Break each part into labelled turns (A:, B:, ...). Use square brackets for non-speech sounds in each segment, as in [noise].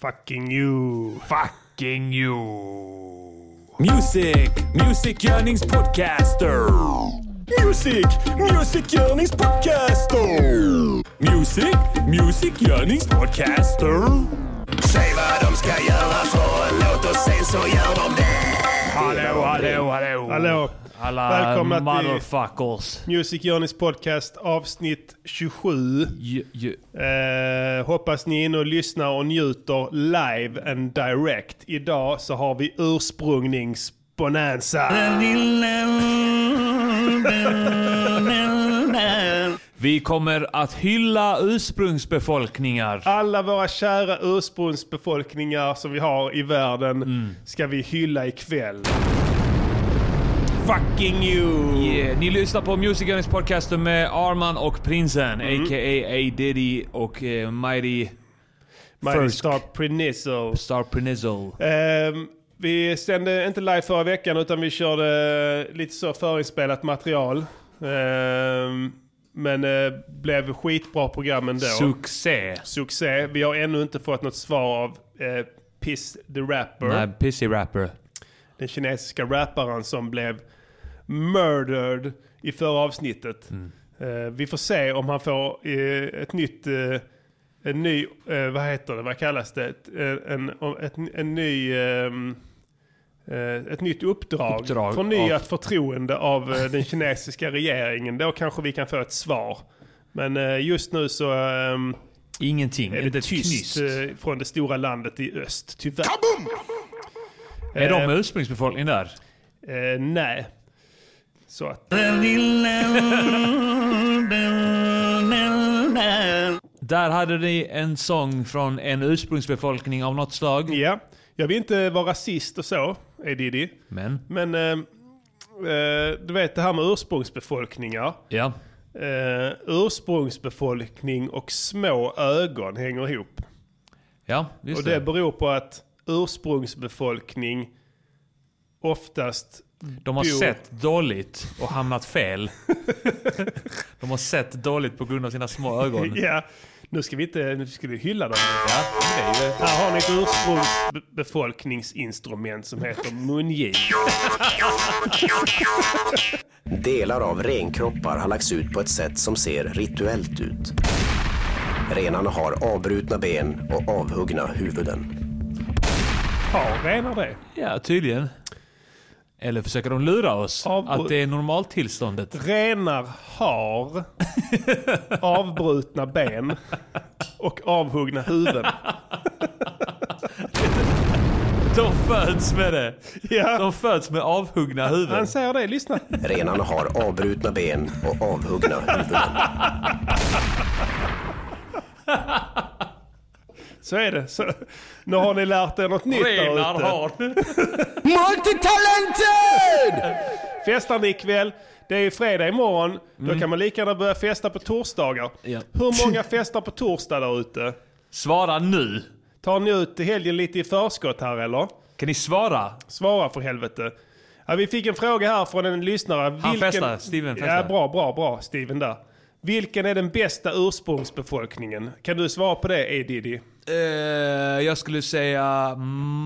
A: Fucking you.
B: Fucking you.
C: Music, Music Yearnings Podcaster. Music, Music Yearnings Podcaster. Music, Music Yearnings Podcaster. Säg vad de ska göra för en låt och sen så gör de det.
B: Hallå, hallå, hallå.
A: Hallå.
B: Alla
A: Välkomna till-
B: motherfuckers.
A: Music Journeys podcast avsnitt 27.
B: Ju- ju-
A: Eh, hoppas ni är inne och lyssnar och njuter live and direct. Idag så har vi ursprungningsbonanza.
B: Vi kommer att hylla ursprungsbefolkningar.
A: Alla våra kära ursprungsbefolkningar som vi har i världen
B: Mm.
A: ska vi hylla ikväll. Fucking you!
B: Yeah. Ni lyssnar på Music Earnings Podcaster med Arman och Prinsen,
A: Mm.
B: a.k.a. A. Diddy och eh, Mighty
A: My
B: First.
A: Star Prinizzle.
B: Star Prinizzle.
A: Ehm, vi sände inte live förra veckan utan vi körde lite så förinspelat material. Ehm, men eh, blev skitbra program ändå.
B: Succé.
A: Succé. Vi har ännu inte fått något svar av eh, Piss the Rapper.
B: Nej, pissy rapper.
A: Den kinesiska rapparen som blev murdered i förra avsnittet. Eh, vi får se om han får eh, ett nytt... Eh, en ny, eh, vad heter det, vad kallas det? Ett, eh, en, om- ett, en ny, ehm, eh, ett nytt uppdrag.
B: Uppdrag
A: Förnyat förtroende av eh, [laughs] den kinesiska regeringen. Då kanske vi kan få ett svar. Men eh, just nu så ehm,
B: Ingenting.
A: är
B: Inte
A: det
B: ett knyst.
A: tyst eh, från det stora landet i öst, tyvärr.
B: Är de ursprungsbefolkningen där?
A: Eh, nej. Så att...
B: Där hade ni en sång från en ursprungsbefolkning av något slag.
A: Ja, jag vill inte vara rasist och så, är Diddy.
B: Men,
A: Men eh, eh, du vet det här med ursprungsbefolkningar.
B: ja.
A: Eh, ursprungsbefolkning och små ögon hänger ihop.
B: Ja, just
A: Och det
B: det.
A: beror på att ursprungsbefolkning oftast
B: De har
A: bor-
B: sett dåligt och hamnat fel.
A: [laughs]
B: De har sett dåligt på grund av sina små ögon.
A: Ja, nu ska vi inte, nu ska vi hylla dem.
B: Ja, det är ju-
A: Här har ni ett ursprungsbefolkningsinstrument som heter mungip.
D: Delar av renkroppar har lagts ut på ett sätt som ser rituellt ut. Renarna har avbrutna ben och avhuggna huvuden.
A: Har renar det?
B: Ja, tydligen. Eller försöker de lura oss
A: Av-
B: att det är normaltillståndet?
A: Renar har avbrutna ben och avhuggna huvuden.
B: De föds med det!
A: Ja,
B: De föds med avhuggna huvuden.
A: han säger det, lyssna.
D: Renarna har avbrutna ben och avhuggna huvuden.
A: Så är det. Så, nu har ni lärt er något nytt där
B: Renar
A: ute.
B: har.
D: Multitalented!
A: Festar ni ikväll? Det är ju fredag imorgon. Då kan man lika gärna börja festa på torsdagar.
B: Mm. Ja.
A: Hur många festar på torsdag där ute?
B: Svara nu!
A: Tar ni ut helgen lite i förskott här eller?
B: Kan ni svara?
A: Svara för helvete. Ja, vi fick en fråga här från en lyssnare.
B: festar, Steven festar.
A: Ja, bra, bra, bra. Steven där. Vilken är den bästa ursprungsbefolkningen? Kan du svara på det, E. Diddy?
B: Eh, jag skulle säga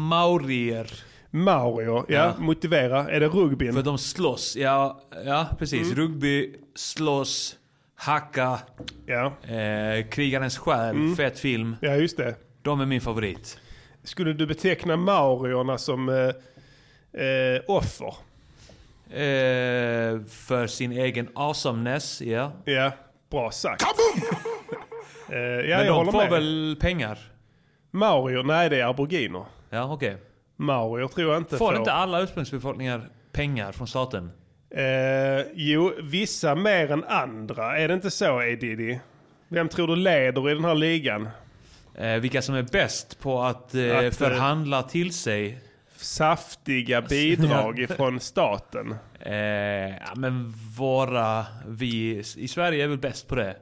B: maurier.
A: Maurier, ja, Motivera. Är det rugbyn?
B: För de slåss. Ja, ja precis.
A: Mm.
B: Rugby, slåss, hacka,
A: Ja.
B: eh, krigarens själ,
A: Mm.
B: fet film.
A: ja, just det.
B: De är min favorit.
A: Skulle du beteckna maurierna som eh, eh, offer?
B: Eh, för sin egen awesomeness, ja.
A: Ja, bra sagt. eh, ja,
B: Men
A: jag
B: de
A: håller
B: får
A: med.
B: väl pengar?
A: Maurier, nej det är aboriginer.
B: Ja, okej.
A: Maurier tror jag inte
B: Får inte alla ursprungsbefolkningar pengar från staten?
A: Eh, jo, vissa mer än andra. Är det inte så, Edidi? Vem tror du leder i den här ligan?
B: Eh, vilka som är bäst på att, eh,
A: Att, eh,
B: förhandla till sig?
A: Saftiga bidrag ifrån staten.
B: Eh, ja, men våra, vi i Sverige är väl bäst på det?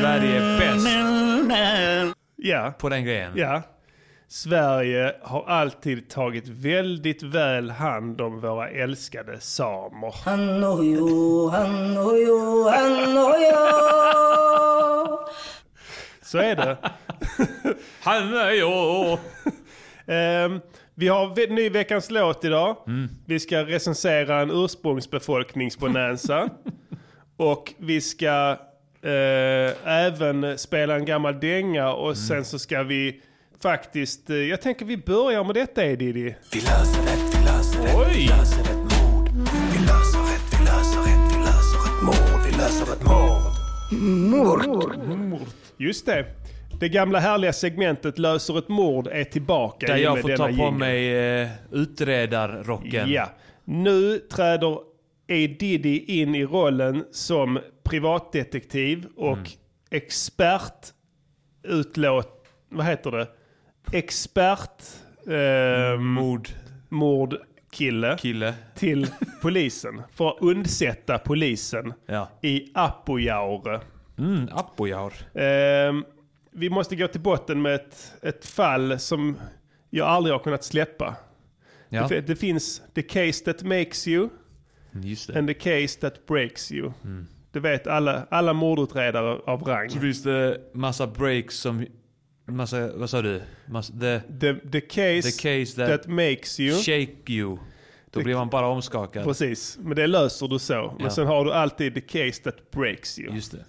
B: Sverige är bäst
A: Ja,
B: på den grejen.
A: ja. Sverige har alltid tagit väldigt väl hand om våra älskade samer. Så är det.
B: Han är ju...
A: Ehm, vi har ve- ny veckans låt idag.
B: Mm.
A: Vi ska recensera en
B: [laughs]
A: ursprungsbefolkningsbonanza. och vi ska eh, även spela en gammal dänga och
B: Mm.
A: sen så ska vi faktiskt... eh, jag tänker vi börjar med detta Edidi.
C: Vi löser ett, vi löser ett,
B: Oj!
C: vi löser ett mord. Vi löser ett, vi löser ett, vi löser ett mord. Vi löser ett mord.
A: Just det. Det gamla härliga segmentet Löser ett mord är tillbaka
B: Där
A: i och
B: jag
A: med
B: får
A: denna
B: ta på
A: jingle.
B: mig eh, utredarrocken.
A: Ja. Nu träder A. Diddy in i rollen som privatdetektiv och
B: Mm.
A: expert utlåt... Vad heter det? Expert... Eh,
B: Mm.
A: mord. Mordkille
B: Kille.
A: till polisen. För att undsätta polisen
B: Ja.
A: i Apojaure.
B: Mm, Apojaur.
A: Ehm, vi måste gå till botten med ett, ett fall som jag aldrig har kunnat släppa.
B: Ja,
A: Det, det finns the case that makes you
B: just det.
A: and the case that breaks you. Det vet alla, alla mordutredare av rang.
B: Mm. Så finns det massa breaks som... Massa, vad sa du? Massa, the
A: The, the, case
B: The case that-
A: that, makes you.
B: shake you. Då blir man bara omskakad.
A: Precis, men det löser du så. Men
B: Ja.
A: sen har du alltid the case that breaks you.
B: Just det.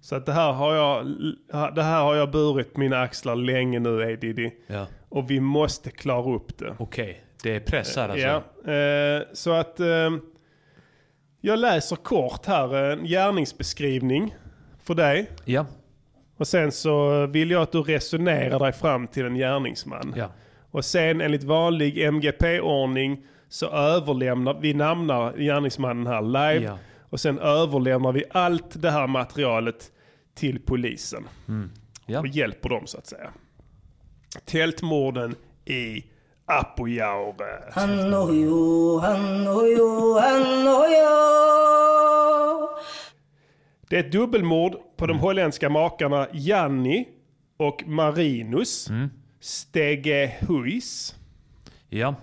A: Så att det, här har jag, det här har jag burit mina axlar länge nu, A. Diddy.
B: Ja.
A: Och vi måste klara upp det.
B: Okej, det är pressar alltså.
A: Ja, eh, så att eh, jag läser kort här en gärningsbeskrivning för dig.
B: ja.
A: Och sen så vill jag att du resonerar dig fram till en gärningsman.
B: ja.
A: Och sen enligt vanlig MGP-ordning så överlämnar vi namnar gärningsmannen här live.
B: Ja.
A: Och sen överlämnar vi allt det här materialet till polisen.
B: Mm. Ja.
A: Och hjälper dem så att säga. Tältmorden i Apojaure.
E: Han och jo, han och jo, han och jo.
A: Det är ett dubbelmord på
B: Mm.
A: de holländska makarna Janni och Marinus
B: Mm.
A: Stege Huis
B: Ja.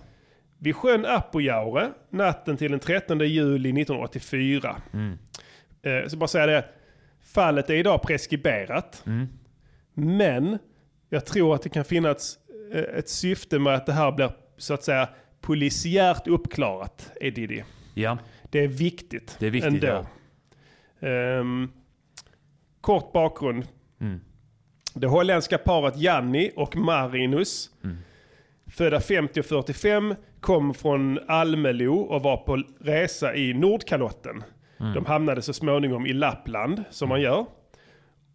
A: vid sjön Apojaure natten till den 13 juli 1984. Eh, Så bara säga det, fallet är idag preskriberat. Men jag tror att det kan finnas eh, ett syfte med att det här blir så att säga polisiärt uppklarat. Är det det?
B: Ja.
A: Det är viktigt.
B: Det är viktigt,
A: ändå.
B: ja.
A: Ehm, kort bakgrund.
B: Mm.
A: Det holländska paret Janni och Marinus,
B: Mm.
A: födda 50 och 45, kom från Almelo och var på resa i Nordkalotten.
B: Mm.
A: De hamnade så småningom i Lappland, som man gör.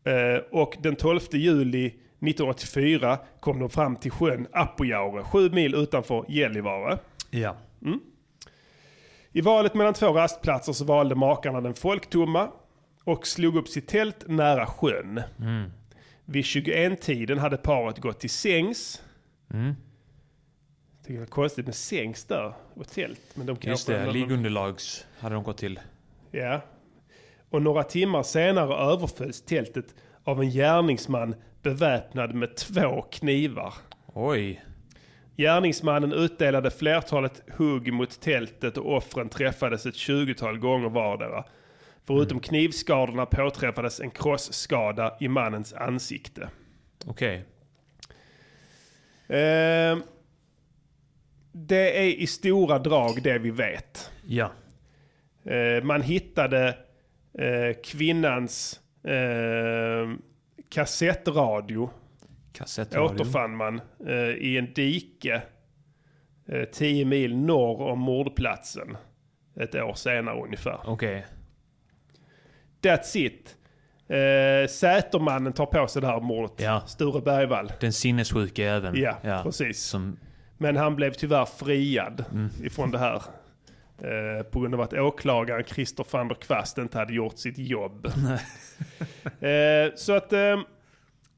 A: Eh, och den 12 juli 1984 kom de fram till sjön Apojaure, sju mil utanför Gällivare.
B: Ja.
A: I valet mellan två rastplatser så valde makarna den folktomma och slog upp sitt tält nära sjön.
B: Mm.
A: Vid 21-tiden hade paret gått till sängs.
B: Mm.
A: Tycker det är konstigt med sängs där och tält. Men de
B: Just
A: kanske-
B: det, ligunderlags hade de gått till.
A: Ja. Och några timmar senare överfölls tältet av en gärningsman beväpnad med två knivar.
B: Oj.
A: Gärningsmannen utdelade flertalet hugg mot tältet och offren träffades ett tjugotal gånger vardera. Förutom knivskadorna påträffades en krossskada i mannens ansikte.
B: Okej.
A: Eh, det är i stora drag det vi vet.
B: Ja.
A: Eh, man hittade eh, kvinnans eh, kassettradio
B: Kassettradio.
A: återfann man eh, i en dike eh, 10 mil norr om mordplatsen. Ett år senare ungefär.
B: Okej.
A: That's it. Eh, Sätermannen tar på sig det här mordet.
B: Ja.
A: Sture Bergvall.
B: Den sinnessjuke även.
A: Ja, precis.
B: Som,
A: Men han blev tyvärr friad
B: Mm.
A: ifrån det här. Eh, på grund av att åklagaren Christer van der Kvast inte hade gjort sitt jobb.
B: [laughs]
A: eh, så att eh,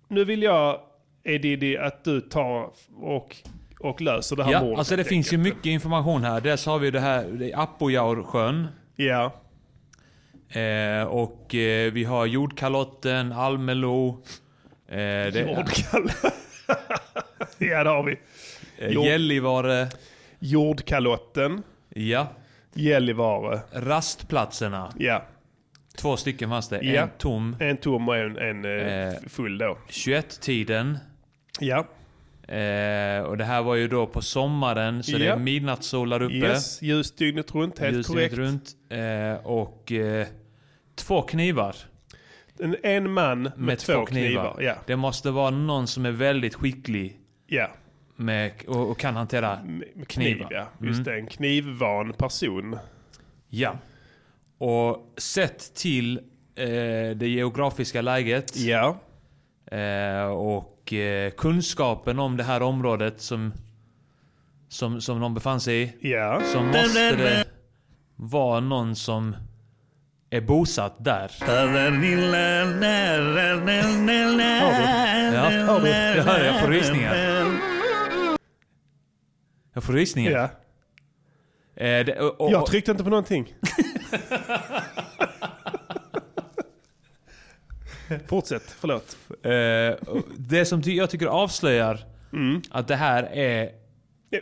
A: nu vill jag, Edidi, att du tar och, och löser det här
B: ja,
A: mordet.
B: alltså det
A: helt
B: finns ju
A: enkelt.
B: mycket information här. Dels har vi det här det är Apojaur-sjön.
A: Ja,
B: Eh, och eh, vi har jordkalotten, Almelo. Eh, det,
A: jordkall. [laughs] ja, det har vi.
B: eh,
A: jord-
B: Gällivare.
A: Jordkalotten,
B: Ja.
A: Gällivare.
B: Rastplatserna.
A: Ja,
B: Två stycken fanns det.
A: Ja.
B: En tom.
A: En tom och en, en eh,
B: Eh.
A: f- full då.
B: 21-tiden.
A: Ja,
B: Eh, och det här var ju då på sommaren, så det
A: Ja.
B: är midnattssol där uppe.
A: yes, ljus dygnet runt, helt
B: Ljus dygnet
A: korrekt.
B: runt. Eh, och eh, två knivar.
A: En, en man med,
B: Med,
A: två, knivar. Ja,
B: Det måste vara någon som är väldigt skicklig
A: ja.
B: med, och, och kan hantera
A: Med- med
B: knivar.
A: Kniv,
B: Mm.
A: ja. Just det, en knivvan person.
B: Ja. Och sett till eh, det geografiska läget
A: Ja,
B: eh, och eh, kunskapen om det här området som, som, som de befann sig i.
A: ja.
B: Så måste det vara någon som är bosatt där. Ja, jag hör det, jag får rysningar. Jag får rysningar.
A: ja.
B: Eh, det, och, och,
A: Jag tryckte inte på
B: [laughs]
A: någonting. Fortsätt, förlåt.
B: eh, och det som ty jag tycker avslöjar
A: Mm.
B: att det här är...
A: Eh,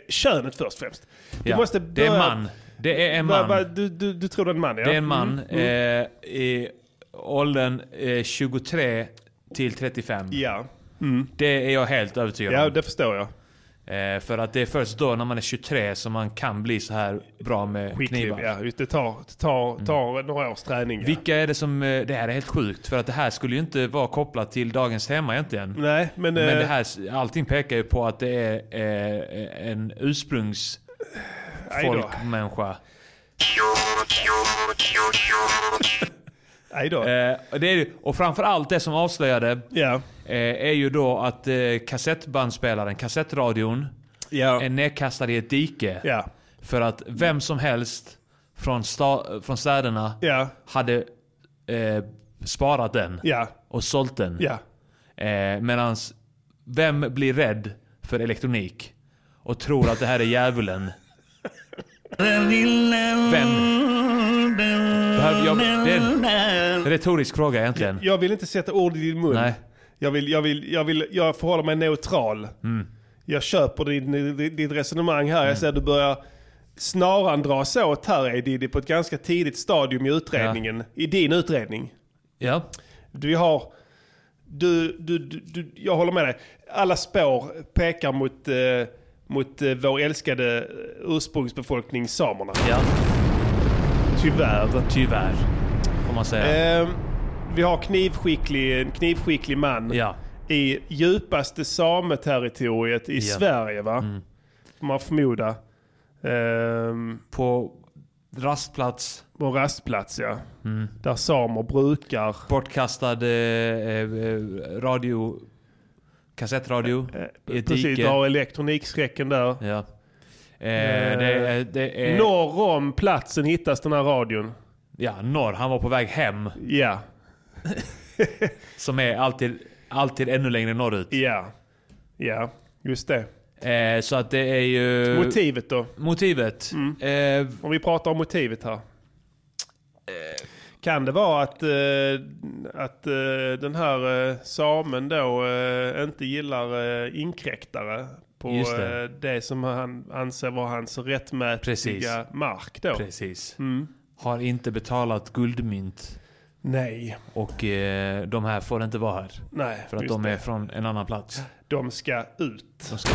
A: Könet först främst. Du
B: Ja,
A: måste
B: det är en
A: börja-
B: man. Det är en
A: Va-
B: man.
A: va- du, du, du tror det är en man, ja?
B: Det är en
A: Mm.
B: man eh, i åldern eh, 23 till 35.
A: Ja.
B: Det är jag helt övertygad om.
A: ja, det förstår jag.
B: Eh, för att det är först då när man är 23 som man kan bli så här bra med
A: Skicklig.
B: knivar. Mm.
A: Ja, just det tar, det tar, tar några års träning. Ja.
B: Vilka är det som... eh, Det här är helt sjukt. För att det här skulle ju inte vara kopplat till dagens tema egentligen.
A: Nej, men...
B: Men
A: eh,
B: det här, allting pekar ju på att det är eh, en ursprungs...
A: aj då,
B: Folkmänniska.
A: Aj då.
B: Eh, och det är, ju- och framförallt det som avslöjade
A: Ja.
B: eh, är ju då att eh, kassettbandspelaren, kassettradion,
A: Ja.
B: är nedkastad i ett dike.
A: Ja.
B: För att vem som helst från, sta, från städerna
A: Ja.
B: hade eh, sparat den
A: Ja.
B: och sålt den.
A: Ja.
B: Eh, medans vem blir rädd för elektronik och tror att det här är djävulen? Vem? Behöver jag, det är en retorisk fråga egentligen.
A: Jag vill inte sätta ord i din mun.
B: Nej.
A: Jag, vill, jag, vill, jag, vill, jag förhåller mig neutral.
B: Mm.
A: Jag köper din- din- ditt resonemang här. Jag ser att du börjar snaran dras åt här Edidi på ett ganska tidigt stadium i utredningen. I din utredning.
B: Ja.
A: Vi har... Du, du, du, du, jag håller med dig. Alla spår pekar mot, eh, mot eh, vår älskade eh, ursprungsbefolkning samerna.
B: ja,
A: Tyvärr.
B: tyvärr. Får man säga.
A: Ehm, vi har knivskicklig, en knivskicklig man.
B: ja.
A: i djupaste sameterritoriet i
B: Ja. Mm.
A: Sverige va? Får man förmoda. Ehm,
B: På rastplats,
A: på en rastplats ja.
B: Mm.
A: Där samer brukar.
B: bortkastad eh, eh, radio, kassettradio i ett
A: Eh, Precis,
B: dike.
A: drar elektronikskräcken där.
B: Ja. Eh, det, är- det är...
A: Norr om platsen hittas den här radion.
B: Ja, norr. Han var på väg hem.
A: Ja,
B: Som är alltid, alltid ännu längre norrut.
A: ja, ja. Just det.
B: Eh, så att det är ju...
A: Motivet då?
B: Motivet.
A: Mm.
B: Eh,
A: Om vi pratar om motivet här. Kan det vara att, eh, att eh, den här eh, samen då eh, inte gillar eh, inkräktare på
B: Just
A: det.
B: det.
A: Eh, det som han anser vara hans rättmätiga
B: Precis.
A: mark då?
B: precis.
A: Mm.
B: Har inte betalat guldmynt.
A: Nej,
B: Och eh, de här får inte vara här.
A: nej.
B: För att
A: just
B: de
A: det.
B: är från en annan plats.
A: de ska ut.
B: De ska-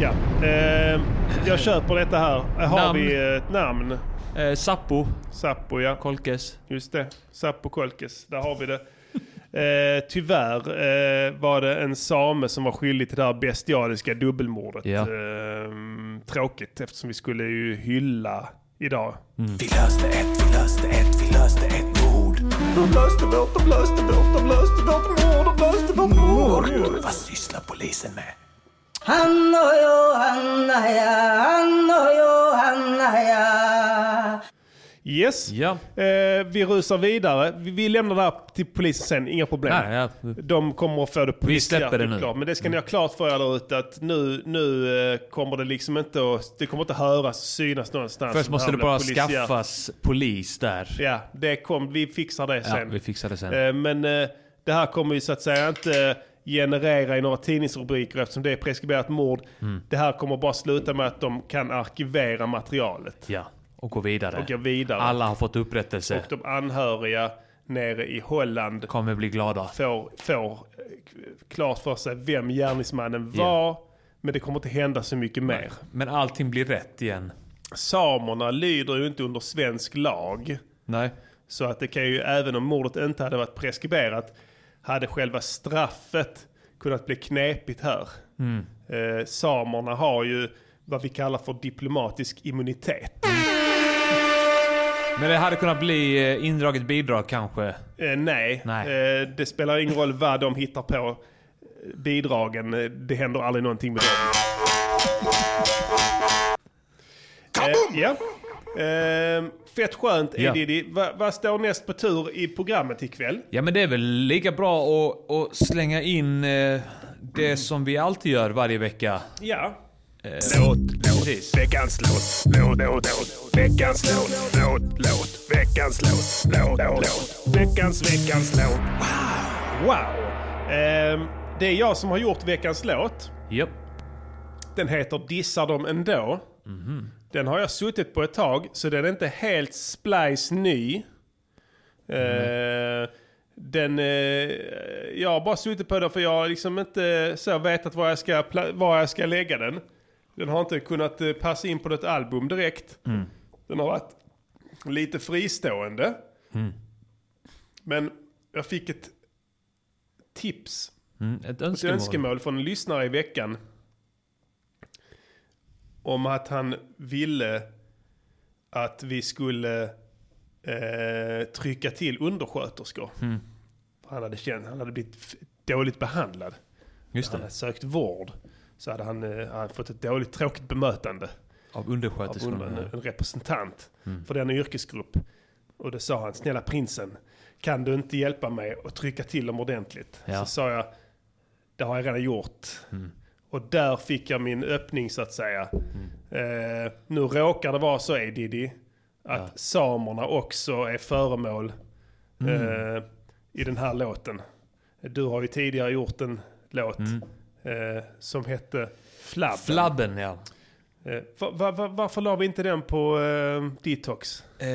A: Ja, eh, jag köper detta här. Har
B: Namn.
A: vi eh, ett namn?
B: Eh, Sappo,
A: Sappo ja.
B: Kolkes.
A: Just det, Sappo Kolkes, där har vi det. Eh, tyvärr eh, var det en same som var skyldig till det här bestialiska dubbelmordet.
B: Ja.
A: Eh, tråkigt eftersom vi skulle ju hylla idag.
C: Vi löste ett, vi löste ett, vi löste ett mord. De löste vårt, de löste vårt, de löste vårt mord, de löste vårt mord. Vad sysslar polisen med?
E: Han och Johanna ja, han och Johanna ja.
A: Yes,
B: Ja.
A: eh, vi rusar vidare. Vi, vi lämnar det här till polisen sen, inga problem.
B: Nej, ja.
A: De kommer att få det polisiärt
B: släpper det nu. Mm.
A: uppklart. Men det ska ni ha klart för er där ute att nu, nu eh, kommer det liksom inte att, det kommer inte att höras, synas någonstans.
B: Först
A: Det
B: måste
A: här
B: det
A: blir
B: bara
A: polisiärt.
B: skaffas polis där.
A: Ja, det kom, vi fixar det
B: Ja,
A: sen.
B: vi fixar det sen.
A: Eh, Men eh, det här kommer ju så att säga inte generera i några tidningsrubriker eftersom det är preskriberat mord. Det här kommer bara sluta med att de kan arkivera materialet.
B: Ja. och går vidare.
A: Och går vidare.
B: Alla har fått upprättelse.
A: Och de anhöriga nere i Holland
B: kommer bli glada.
A: får, får eh, klart för sig vem gärningsmannen var. Men det kommer inte hända så mycket mer.
B: Men allting blir rätt igen.
A: Samerna lyder ju inte under svensk lag.
B: Nej.
A: Så att det kan ju, även om mordet inte hade varit preskriberat, hade själva straffet kunnat bli knepigt här.
B: Mm.
A: Eh, samerna har ju vad vi kallar för diplomatisk immunitet.
B: Men det hade kunnat bli eh, indraget bidrag kanske.
A: Eh, nej,
B: Mm. Nej.
A: Eh, det spelar ingen roll vad de hittar på eh, bidragen. eh, Det händer aldrig någonting med dem. Eh, ja. Eh, fett skönt,
B: Ja.
A: Edidi. Va- Vad står näst på tur i programmet ikväll?
B: Ja men det är väl lika bra att, att slänga in eh, det som vi alltid gör varje vecka. Eh,
A: Ja.
C: Låt, låt,
B: Precis.
C: veckans låt, låt, låt, låt, veckans låt, låt, låt, veckans låt, låt, låt, veckans, veckans låt.
A: Wow! Ehm, det är jag som har gjort veckans låt.
B: Japp.
A: Den heter Dissar dem ändå. Den har jag suttit på ett tag, så den är inte helt splice ny. Eh, den, eh, jag har bara suttit på den för jag har liksom inte så vetat var jag, ska, pla- var jag ska lägga den. Den har inte kunnat eh, passa in på något album direkt. Den har varit lite fristående. Men jag fick ett tips
B: Mm, ett
A: ett
B: önskemål.
A: önskemål från en lyssnare i veckan. Om att han ville att vi skulle eh, trycka till undersköterskor.
B: Mm.
A: För Han, hade känt, han hade blivit f- dåligt behandlad.
B: Just
A: Han
B: det.
A: hade sökt vård. Så hade han, eh, han fått ett dåligt tråkigt bemötande
B: Av
A: av
B: undersköterskorna.
A: en, en representant för denna yrkesgrupp. Och då sa han, snälla prinsen, kan du inte hjälpa mig att trycka till dem ordentligt?
B: Ja.
A: Så sa jag, det har jag redan gjort. Och där fick jag min öppning så att säga. Eh, nu råkar det vara så, Edidi, att samerna också är föremål eh, i den här låten. Du har ju tidigare gjort en låt eh, som hette Flabben.
B: Flabben ja.
A: Eh, va, va, va, varför la vi inte den på eh, detox?
B: Eh,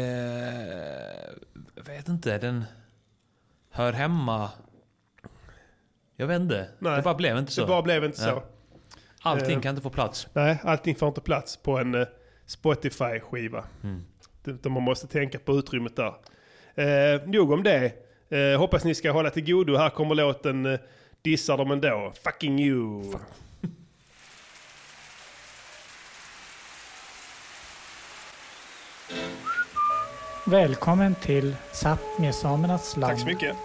B: vet inte, den hör hemma... Jag vet inte.
A: Nej.
B: Det bara blev inte
A: Det
B: så.
A: bara eh. blev inte
B: Ja.
A: så.
B: Allting kan inte få plats.
A: Nej, allting får inte plats på en eh, Spotify-skiva.
B: Mm.
A: Utan man måste tänka på utrymmet där. Eh, nog om det. Eh, hoppas ni ska hålla till godo. Här kommer låten eh, Dissar dem ändå. Fucking you.
F: Välkommen till Sápmi, samernas land.
A: Tack så mycket.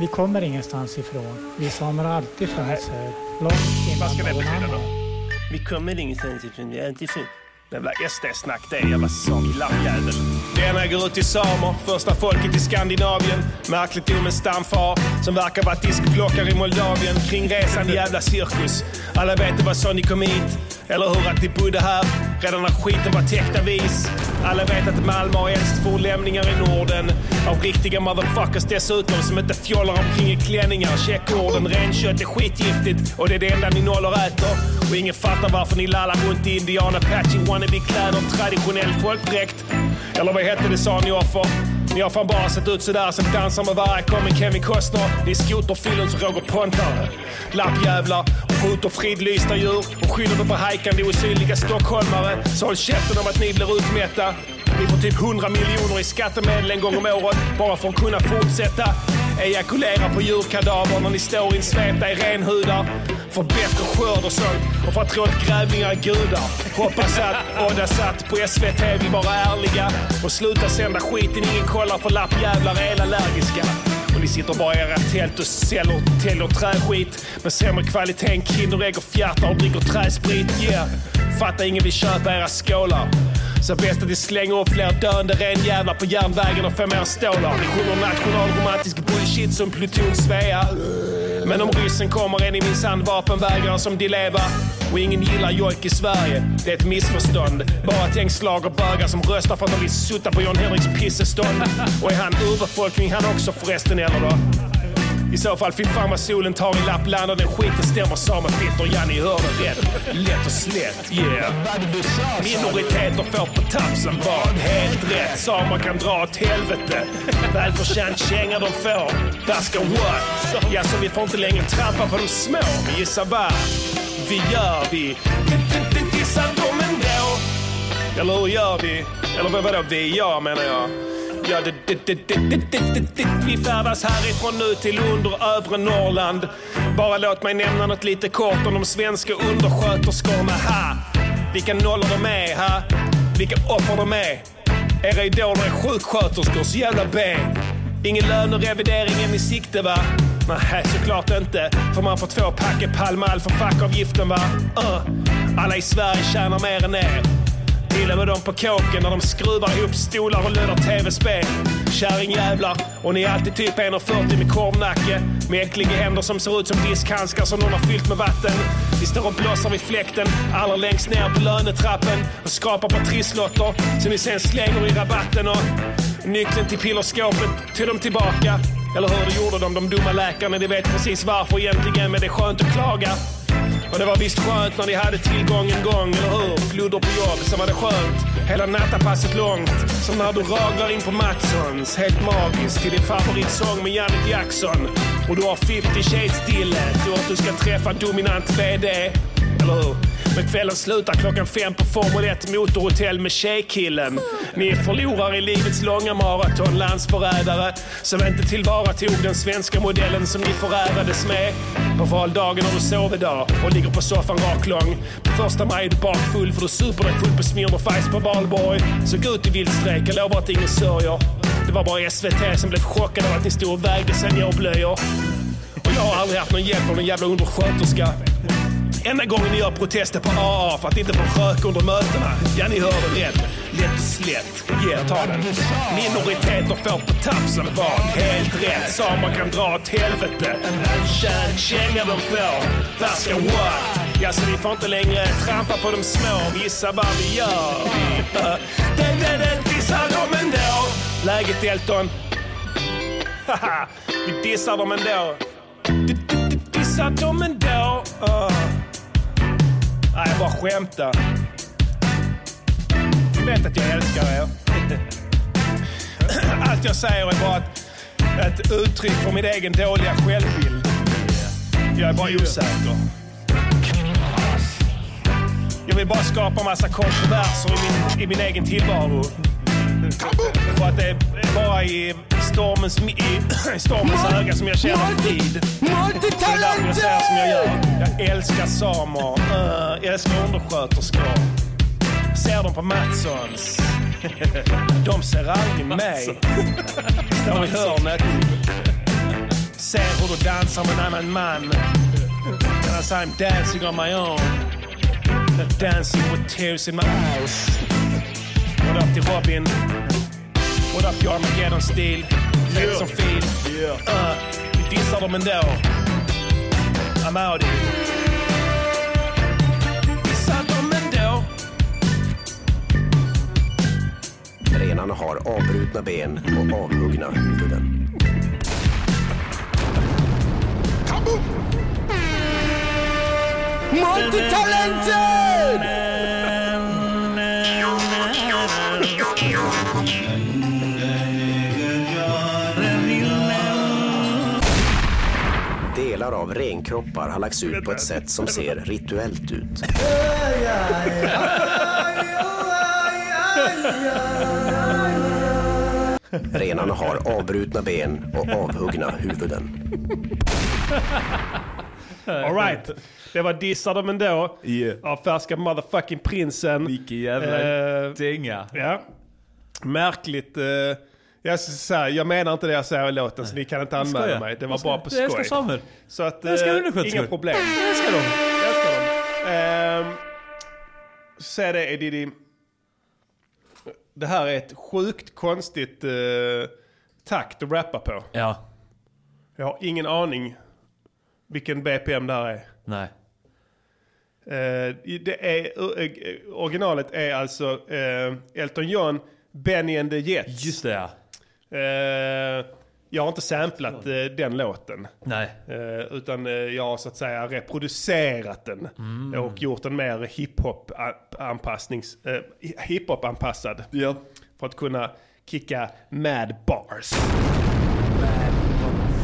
F: Vi kommer ingenstans ifrån. Vi samer har alltid funnits här. Långt innan
A: Vad ska det
F: någon
A: betyda
F: annan.
A: då?
C: Vi kommer ingenstans ifrån, vi är inte ifrån. Jävla SD-snack det är, jävla saklappjävel. Denna går ut till samer, första folket i Skandinavien. Märkligt dum en stamfar som verkar vara diskplockare i Moldavien. Kringresande jävla cirkus. Alla vet det var så ni kom hit. Eller hur att ni bodde här redan när skiten var täckt av is. Alla vet att Malmö har äldst fornlämningar i Norden. Av riktiga motherfuckers dessutom som inte fjollar omkring i klänningar. Checkorden, renkött är skitgiftigt och det är det enda ni nollor äter. Och ingen fattar varför ni lallar runt i indian apache wannabe-kläder, traditionell folkdräkt. Eller vad hette det sa ni offer? Ni har fan bara sett ut sådär sen Dansar med varje kom en Kevin Costner. Ni är skoterfyllon som Roger Pontare. Lappjävlar och skjuter fridlysta djur och skyller det på hajkande osynliga stockholmare. Så håll käften om att ni blir utmätta. Ni får typ 100 miljoner i skattemedel en gång om året bara för att kunna fortsätta. Ejakulera på djurkadaver när ni står insvepta i renhudar. För bättre skörd och sånt och för att tro att grävlingar är gudar. Hoppas att Odda satt på SVT vill vara ärliga och sluta sända skiten ingen kollar för lappjävlar är elallergiska. Och ni sitter bara i era tält och säljer, täljer träskit med sämre kvalitet än Kinderägg och fjärtar och dricker träsprit. Yeah. Fattar ingen vill köpa era skålar. Så bäst att ni slänger upp fler döende renjävlar på järnvägen och får mer stålar. Ni sjunger nationalromantisk bullshit som Pluton Svea. Men om ryssen kommer är ni minsann vapenvägrare som de lever. Och ingen gillar jojk i Sverige. Det är ett missförstånd. Bara tänk slag och bögar som röstar för att de vill sutta på John Henriks pissestånd. Och är han urbefolkning han också förresten eller då? I så fall fy fan vad solen tar i Lappland och den skiten stämmer samefittor, ja ni hörde rätt. Lätt och slätt, yeah. Minoriteter får på tafsen vad helt rätt. Samer kan dra åt helvete. Välförtjänt känga de får. Vaska what? Ja, så vi får inte längre trampa på de små. Gissa vad? Vi gör vi. Dissar dem ändå. Eller hur gör vi? Eller vad- vadå vi? Jag menar jag. Ja, det, det, det, det, det, det, det, det. Vi färdas härifrån nu till under övre Norrland. Bara låt mig nämna något lite kort om de svenska undersköterskorna. Ha! Vilka nollor de är, ha! Vilka offer de är. Era idoler är sjuksköterskor, så jävla B. Ingen lönerevideringen i sikte, va? Nej, såklart inte. För man får två pack i Palme all för fackavgiften, va? Uh. Alla i Sverige tjänar mer än er. Till och med de på kåken när de skruvar ihop stolar och löder tv-spel. Kärringjävlar, och ni är alltid typ 1,40 med korvnacke. Med äckliga händer som ser ut som diskhandskar som någon har fyllt med vatten. Vi står och blåser vid fläkten, allra längst ner på lönetrappen. Och skrapar på trisslotter som ni sen slänger i rabatten. Och nyckeln till pillerskåpet till dem tillbaka. Eller hur, det gjorde de, de dumma läkarna. Ni vet precis varför egentligen, men det är skönt att klaga. Och det var visst skönt när ni hade tillgång en gång, eller hur? Floder på jobb, så var det skönt. Hela nattapasset långt. Som när du raglar in på Mattssons. Helt magiskt. Till din favoritsång med Janet Jackson. Och du har 50 shades dille. Du att du ska träffa dominant VD. Eller hur? Men kvällen slutar klockan fem på Formel 1 motorhotell med tjejkillen. Ni förlorar i livets långa maraton, landsförrädare som inte tillvaratog den svenska modellen som ni förärades med. På valdagen har du sovedag och ligger på soffan raklång. På första maj är du bakfull för du super dig full på Smirnoff Ice på valborg. Så gå ut i vildstrejk, jag lovar att ingen sörjer. Det var bara SVT som blev chockade av att ni stod och vägde seniorblöjor. Och jag har aldrig haft någon hjälp av någon jävla undersköterska. Enda gången ni gör protester på AA för att inte få rök under mötena. Ja, ni hörde rätt. Lätt och slätt. Yeah, ta den. Minoriteter får på tafsen vad helt rätt. Samer kan dra åt helvete. Kärn, känga de får. Färska what? Ja, så vi får inte längre trampa på de små. Gissa vad vi gör. Eh, Det, det, det, dissar dem ändå. Läget Elton? [laughs] Haha, vi dissar dem ändå. D- d- d- Dissar dem ändå. Uh. Nej, jag bara skämtar. Ni vet att jag älskar er. [laughs] Allt jag säger är bara ett, ett uttryck för min egen dåliga självbild. Jag är bara osäker. Jag vill bara skapa massa kontroverser i min, i min egen tillvaro. För att det är bara i stormens, mi- i, [clears throat] i stormens öga som jag känner frid. Det är därför jag säger som jag gör. Jag älskar samer. Uh, jag älskar undersköterskor. Ser dem på Matssons. De ser aldrig mig. Står i hörnet. Ser hur du dansar med en annan man. As I'm dancing on my own. Dancing with tears in my eyes. What up till Robin? What up your Armageddon-stil? Fet som fil. Uh, vi dissar dem ändå. I'm out here. Dissar dem ändå.
G: Renarna har avbrutna ben och avhuggna huvuden. Delar av renkroppar har lagts ut på ett sätt som ser rituellt ut. Renarna har avbrutna ben och avhuggna huvuden.
C: All right. Det var dissar dem ändå.
A: Yeah.
C: Av färska motherfucking prinsen.
A: Vilken jävla
C: Eh,
A: dänga.
C: Ja. Märkligt. eh, jag, s- så här, jag menar inte det jag säger i låten, så ni kan inte anmäla mig. Det var bara på
A: Jag älskar
C: skoj.
A: samer.
C: Så att,
A: Jag älskar
C: eh,
A: undersköterskor.
C: inga problem.
A: Jag älskar dem.
C: Jag älskar dem. Ehm, Säg det Edidi. Det här är ett sjukt konstigt uh, takt att rappa på.
A: Ja,
C: Jag har ingen aning vilken BPM det här är.
A: nej.
C: Eh, det är, eh, originalet är alltså eh, Elton John, Benny and the Jets.
A: Just det ja.
C: Eh,
A: Jag har inte samplat eh, den låten.
B: Nej.
A: Eh, utan eh, jag har så att säga reproducerat den
B: Mm.
A: och gjort den mer hiphop anpassnings eh, hiphop anpassad
H: Ja.
A: för att kunna kicka mad bars.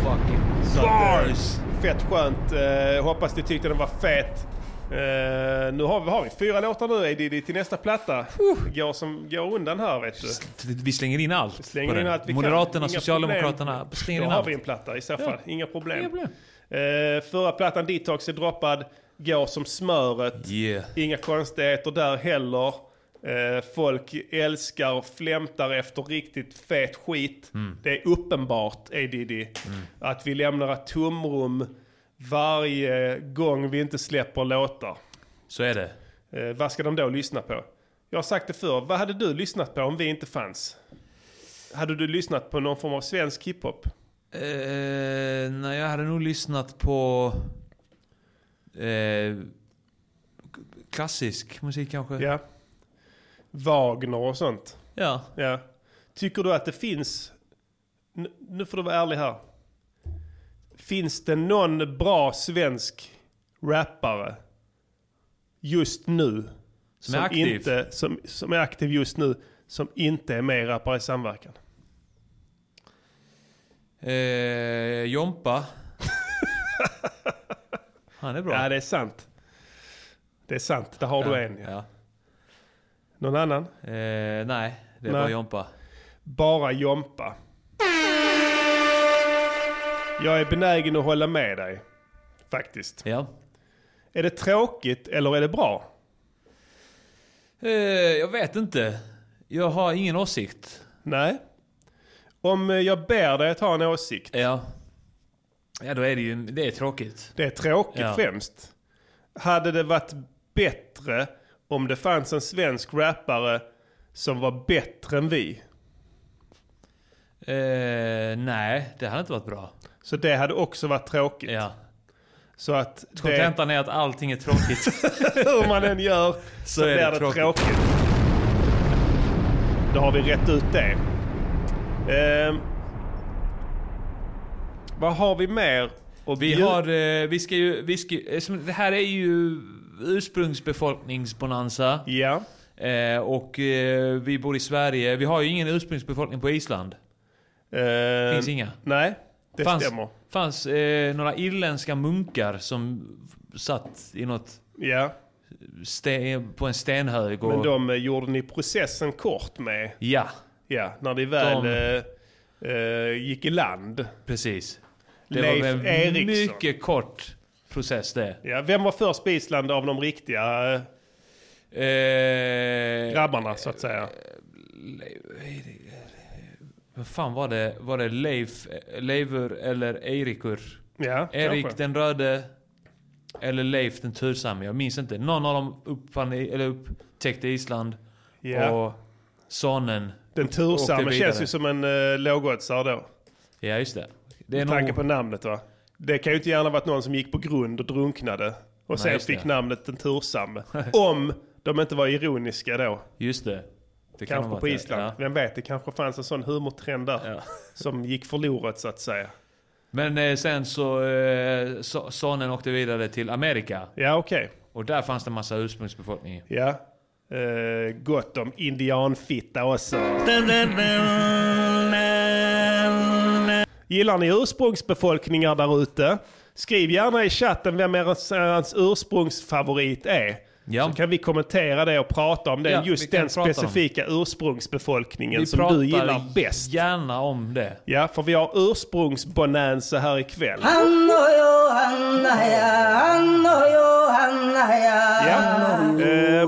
B: Fucking
A: Bars! Fett skönt. Eh, hoppas ni tyckte den var fet. Eh, nu har vi, har vi fyra låtar nu Edidi till nästa platta. Går, som, går undan här vet du.
B: Vi slänger in allt.
A: Slänger
B: på
A: in
B: den.
A: allt vi kan.
B: Moderaterna,
A: Inga
B: Socialdemokraterna,
A: problem.
B: slänger
A: Då
B: in
A: har
B: allt.
A: vi en platta i så fall. Inga problem.
B: Inga problem.
A: Eh, förra plattan Detox är droppad. Går som smöret.
B: Yeah.
A: Inga konstigheter där heller. Eh, folk älskar och flämtar efter riktigt fet skit. Det är uppenbart, ADD, att vi lämnar ett tomrum varje gång vi inte släpper låtar.
B: Så är det.
A: Eh, vad ska de då lyssna på? Jag har sagt det förr, vad hade du lyssnat på om vi inte fanns? Hade du lyssnat på någon form av svensk hiphop?
B: Eh, nej, jag hade nog lyssnat på... Eh, klassisk musik kanske.
A: Ja. Wagner och sånt?
B: Ja.
A: Ja. Tycker du att det finns, n- nu får du vara ärlig här. Finns det någon bra svensk rappare just nu
B: Som är aktiv?
A: Inte, som, som är aktiv just nu som inte är med i Rappare i samverkan?
B: Eh, Jompa.
A: [laughs]
B: Han är bra.
A: Ja, det är sant. Det är sant, där har du en. Ja.
B: Ja.
A: Någon annan?
B: Eh, nej, det
A: Nej.
B: är bara Jompa.
A: Bara Jompa. Jag är benägen att hålla med dig, faktiskt.
B: Ja.
A: Är det tråkigt eller är det bra?
B: Eh, jag vet inte. Jag har ingen åsikt.
A: Nej. Om eh, jag ber dig att ha en åsikt.
B: Ja. Ja, då är det ju... Det är tråkigt.
A: Det är tråkigt
B: Ja.
A: främst. Hade det varit bättre om det fanns en svensk rappare som var bättre än vi?
B: Eh, nej, det hade inte varit bra.
A: Så det hade också varit tråkigt.
B: Ja.
A: Så att det,
B: Kontentan är att allting
A: [laughs]
B: är tråkigt.
A: hur man än
B: [laughs]
A: gör så,
B: är
A: blir
B: det
A: det tråkigt.
B: tråkigt.
A: Då har vi rätt ut det. Ehm, vad har vi mer? att
B: Vi
A: bjuda-
B: har... Eh, vi ska ju... Vi ska, ju- eh, som- det här är ju ursprungsbefolkningsbonanza.
A: Ja.
B: Eh, och eh, vi bor i Sverige. Vi har ju ingen ursprungsbefolkning på Island.
A: Ehm,
B: Finns inga.
A: Nej, det
B: fanns,
A: stämmer.
B: Fanns eh, några irländska munkar som satt i något
A: Ja.
B: ste- på en stenhög och...
A: Men de eh, gjorde ni processen kort med,
B: Ja,
A: ja, när ni väl
B: De-
A: eh, eh, gick i land.
B: precis. Det
A: Leif
B: var en
A: Eriksson.
B: mycket kort process det.
A: Ja, vem var först på Island av de riktiga eh,
B: Eh,
A: grabbarna så att säga?
B: vad fan var det? Var det Leif, Leifur eller Eirikur?
A: Ja,
B: Erik
A: kanske.
B: den röde eller Leif den tursamme. Jag minns inte. Någon av dem uppfann, eller upptäckte Island.
A: Ja.
B: Och sonen.
A: Den
B: åkte
A: tursamme
B: vidare.
A: känns ju som en uh, lågoddsare då.
B: Ja, just det. Det är
A: Med tanke
B: nog...
A: på namnet va? Det kan ju inte gärna varit någon som gick på grund och drunknade och sen
B: just
A: fick
B: det.
A: namnet den
B: [laughs]
A: tursamme. Om de inte var ironiska då.
B: Just det. det kan ha
A: Kanske
B: varit
A: på
B: det.
A: Island.
B: Ja.
A: Vem vet, det kanske fanns en sån humortrend där
B: Ja.
A: som gick förlorat så att säga.
B: Men eh, sen så, eh, so- sonen åkte vidare till Amerika.
A: Ja, okej.
B: Och där fanns det massa ursprungsbefolkning.
A: Ja. Eh, gott om indianfitta också. Gillar ni ursprungsbefolkningar där ute? Skriv gärna i chatten vem er hans ursprungsfavorit är.
B: Ja.
A: Så kan vi kommentera det och prata om den,
B: Ja, vi
A: just
B: kan
A: den
B: prata om.
A: specifika ursprungsbefolkningen
B: Vi
A: som
B: pratar
A: du gillar bäst.
B: gärna om det.
A: Ja, för vi har ursprungsbonanza här ikväll.
E: Hannojo, Hannaja, Hannojo, Hannaja.
A: Ja. Eh,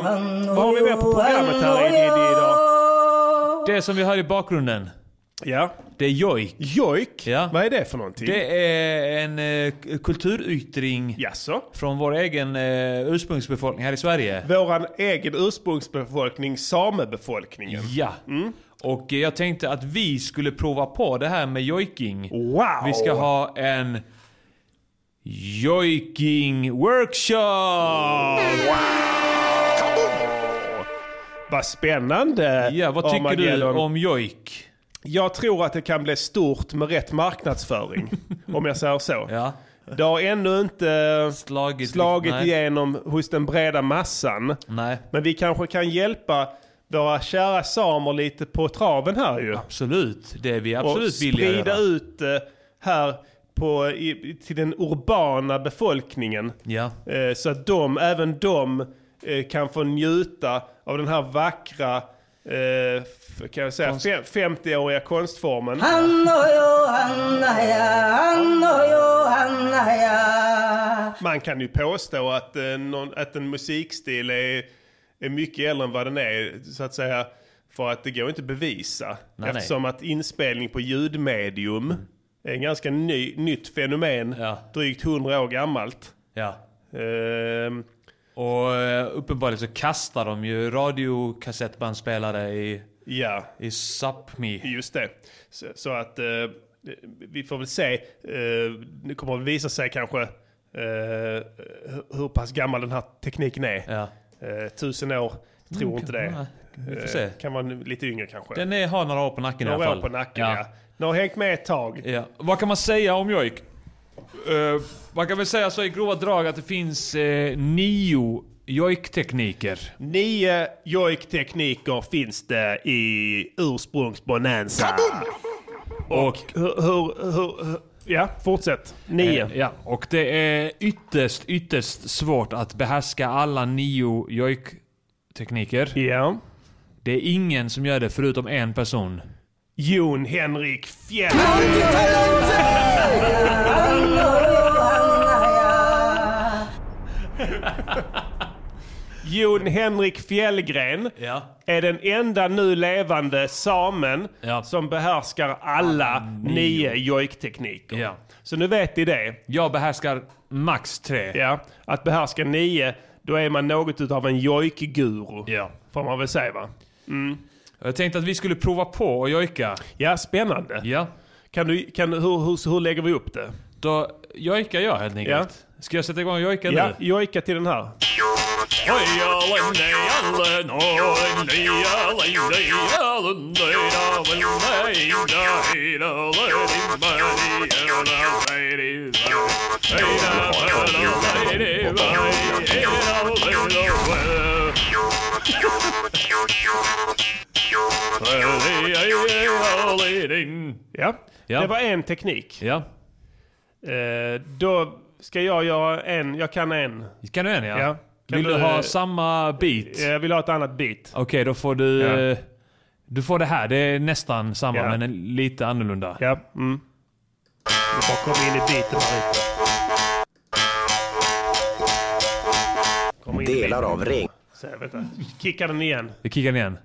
A: vad har vi mer på programmet här i idag?
B: Det som vi hör i bakgrunden,
A: Ja.
B: det är jojk.
A: Jojk,
B: Ja.
A: vad är det för någonting?
B: Det är en eh, k- kulturyttring
A: Jaså?
B: från vår egen eh, ursprungsbefolkning här i Sverige.
A: Våran egen ursprungsbefolkning, samebefolkningen.
B: Ja.
A: Mm.
B: Och eh, jag tänkte att vi skulle prova på det här med jojking.
A: Wow!
B: Vi ska ha en jojking
A: Mm.
B: workshop!
A: Vad spännande!
B: Ja, vad tycker du
A: Armageddon.
B: om jojk?
A: Jag tror att det kan bli stort med rätt
B: [laughs]
A: marknadsföring, om jag säger så.
B: Ja.
A: Det har ännu inte
B: Slagit,
A: slagit
B: nej.
A: igenom hos den breda massan.
B: Nej,
A: Men vi kanske kan hjälpa våra kära samer lite på traven här ju.
B: absolut. Det är vi
A: och
B: absolut villiga att
A: sprida
B: göra.
A: ut eh, här på, i, till den urbana befolkningen.
B: Ja.
A: Eh, så att de, även de eh, kan få njuta av den här vackra, eh, f- kan jag säga, fem- 50-åriga konstformen.
E: Hanno Johanna ja, Hanno Johanna ja.
A: Man kan ju påstå att, eh, någon, att en musikstil är, är mycket äldre än vad den är, så att säga. För att det går inte att bevisa.
B: Nej, Mm.
A: eftersom att inspelning på ljudmedium är en ganska ny, nytt fenomen.
B: Ja.
A: Drygt 100 år gammalt.
B: ja.
A: Ehm,
B: Och eh, uppenbarligen så kastar de ju radiokassettbandspelare i,
A: ja,
B: i Sápmi.
A: just det. Så, så att eh, vi får väl se. Eh, det kommer att visa sig kanske eh, hur- hur pass gammal den här tekniken är.
B: Ja.
A: Eh, tusen år, tror inte det. Eh,
B: Nej, Vi får se.
A: Kan vara nu- lite yngre kanske.
B: Den är, har några år på nacken i alla
A: Några
B: fall.
A: år på nacken ja. Den har hängt med ett tag.
B: Ja. Vad kan man säga om Joik? Eh, man kan väl säga så i grova drag att det finns eh, nio Joik-tekniker.
A: Nio jojktekniker finns det i ursprungsbonanza. Och hur, hur, hur, hur... Ja, fortsätt. Nio.
B: Eh, Ja, och det är ytterst, ytterst svårt att behärska alla nio Joik-tekniker.
A: Ja.
B: Det är ingen som gör det förutom en person.
A: Jon Henrik Fjäll. Jon Henrik Fjällgren
B: Ja.
A: är den enda nu levande samen
B: Ja. Ah,
A: som behärskar alla nio jojktekniker.
B: Ja.
A: Så nu vet ni det.
B: Jag behärskar max tre.
A: Ja. Att behärska nio, då är man något utav en jojkguru.
B: Ja.
A: Får man väl säga va?
B: Jag tänkte att vi skulle prova på och jojka.
A: Ja, spännande.
B: Ja.
A: Kan du, kan, hur, hur, hur lägger vi upp det?
B: Då jojkar jag helt enkelt. Ska jag sätta igång och jojka
A: Ja,
B: nu?
A: jojka till den här. Ja.
B: Ja.
A: det var en teknik.
B: Ja.
A: Eh, då ska jag göra en, jag kan en.
B: Kan du en ja?
A: Ja. Kan
B: Vill du,
A: du, eh,
B: ha samma beat?
A: Jag Eh, vill ha ett annat beat.
B: Okej, då får du...
A: Ja.
B: eh, Du får det här. Det är nästan samma,
A: Ja.
B: men en- lite annorlunda.
A: Ja, mm. Du bara kommer in i beaten här ute. Kom in i
D: Delar av ren...
A: Så, vänta. Kicka den igen.
B: Vi kickar den igen.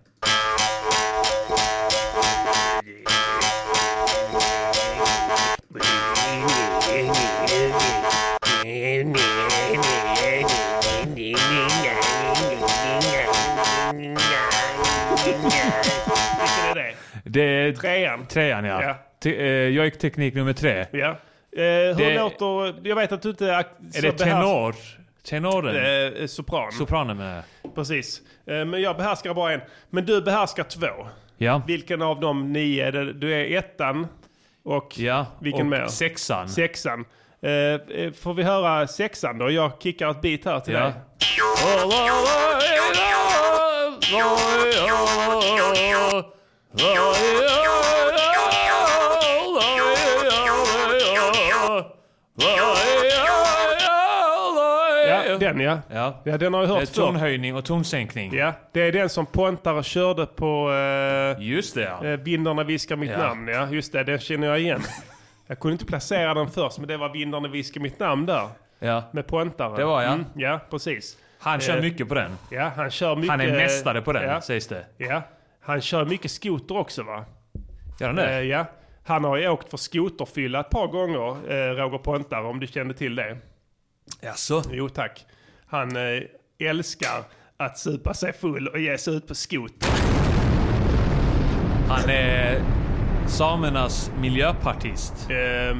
A: Vilken är det?
B: Det är
A: Trean.
B: trean, ja.
A: Ja.
B: Te- eh, Jojkteknik nummer tre.
A: Ja. Eh, hur
B: Det-
A: låter... Jag vet att du inte...
B: Är det tenor? Tenoren?
A: Eh, sopran.
B: Sopranen menar jag.
A: Precis. Eh, men jag behärskar bara en. Men du behärskar två.
B: Ja.
A: Vilken av de nio? är det? Du är ettan och
B: ja.
A: vilken
B: och
A: mer?
B: sexan.
A: sexan. Eh, eh, får vi höra sexan då? Jag kickar ett bit här till
B: Ja.
A: dig. Ja, den ja.
B: Ja.
A: Ja, den har jag
B: Det
A: hört
B: är
A: förr.
B: tonhöjning och tonsänkning.
A: Ja, det är den som Pontare körde på eh,
B: Just det ja.
A: eh, Vindarna viskar mitt
B: Ja.
A: namn. Ja, just det. Den känner jag
B: [laughs]
A: igen. jag kunde inte placera den först, men det var Vindarna viskar mitt namn där.
B: ja.
A: Med Pontare.
B: Det var jag.
A: Mm, ja, precis.
B: Han kör mycket på den.
A: Ja, han kör mycket...
B: Han är mästare på den
A: eh, Ja,
B: sägs det.
A: ja. Han kör mycket skoter också va?
B: Gör han
A: Eh,
B: det?
A: ja. Han har ju åkt för skoterfylla ett par gånger, eh, Roger Pontare, om du kände till det.
B: Jaså?
A: Jo tack. Han eh, älskar att supa sig full och ge sig ut på skoter.
B: Han är samernas miljöpartist.
A: Eh, i-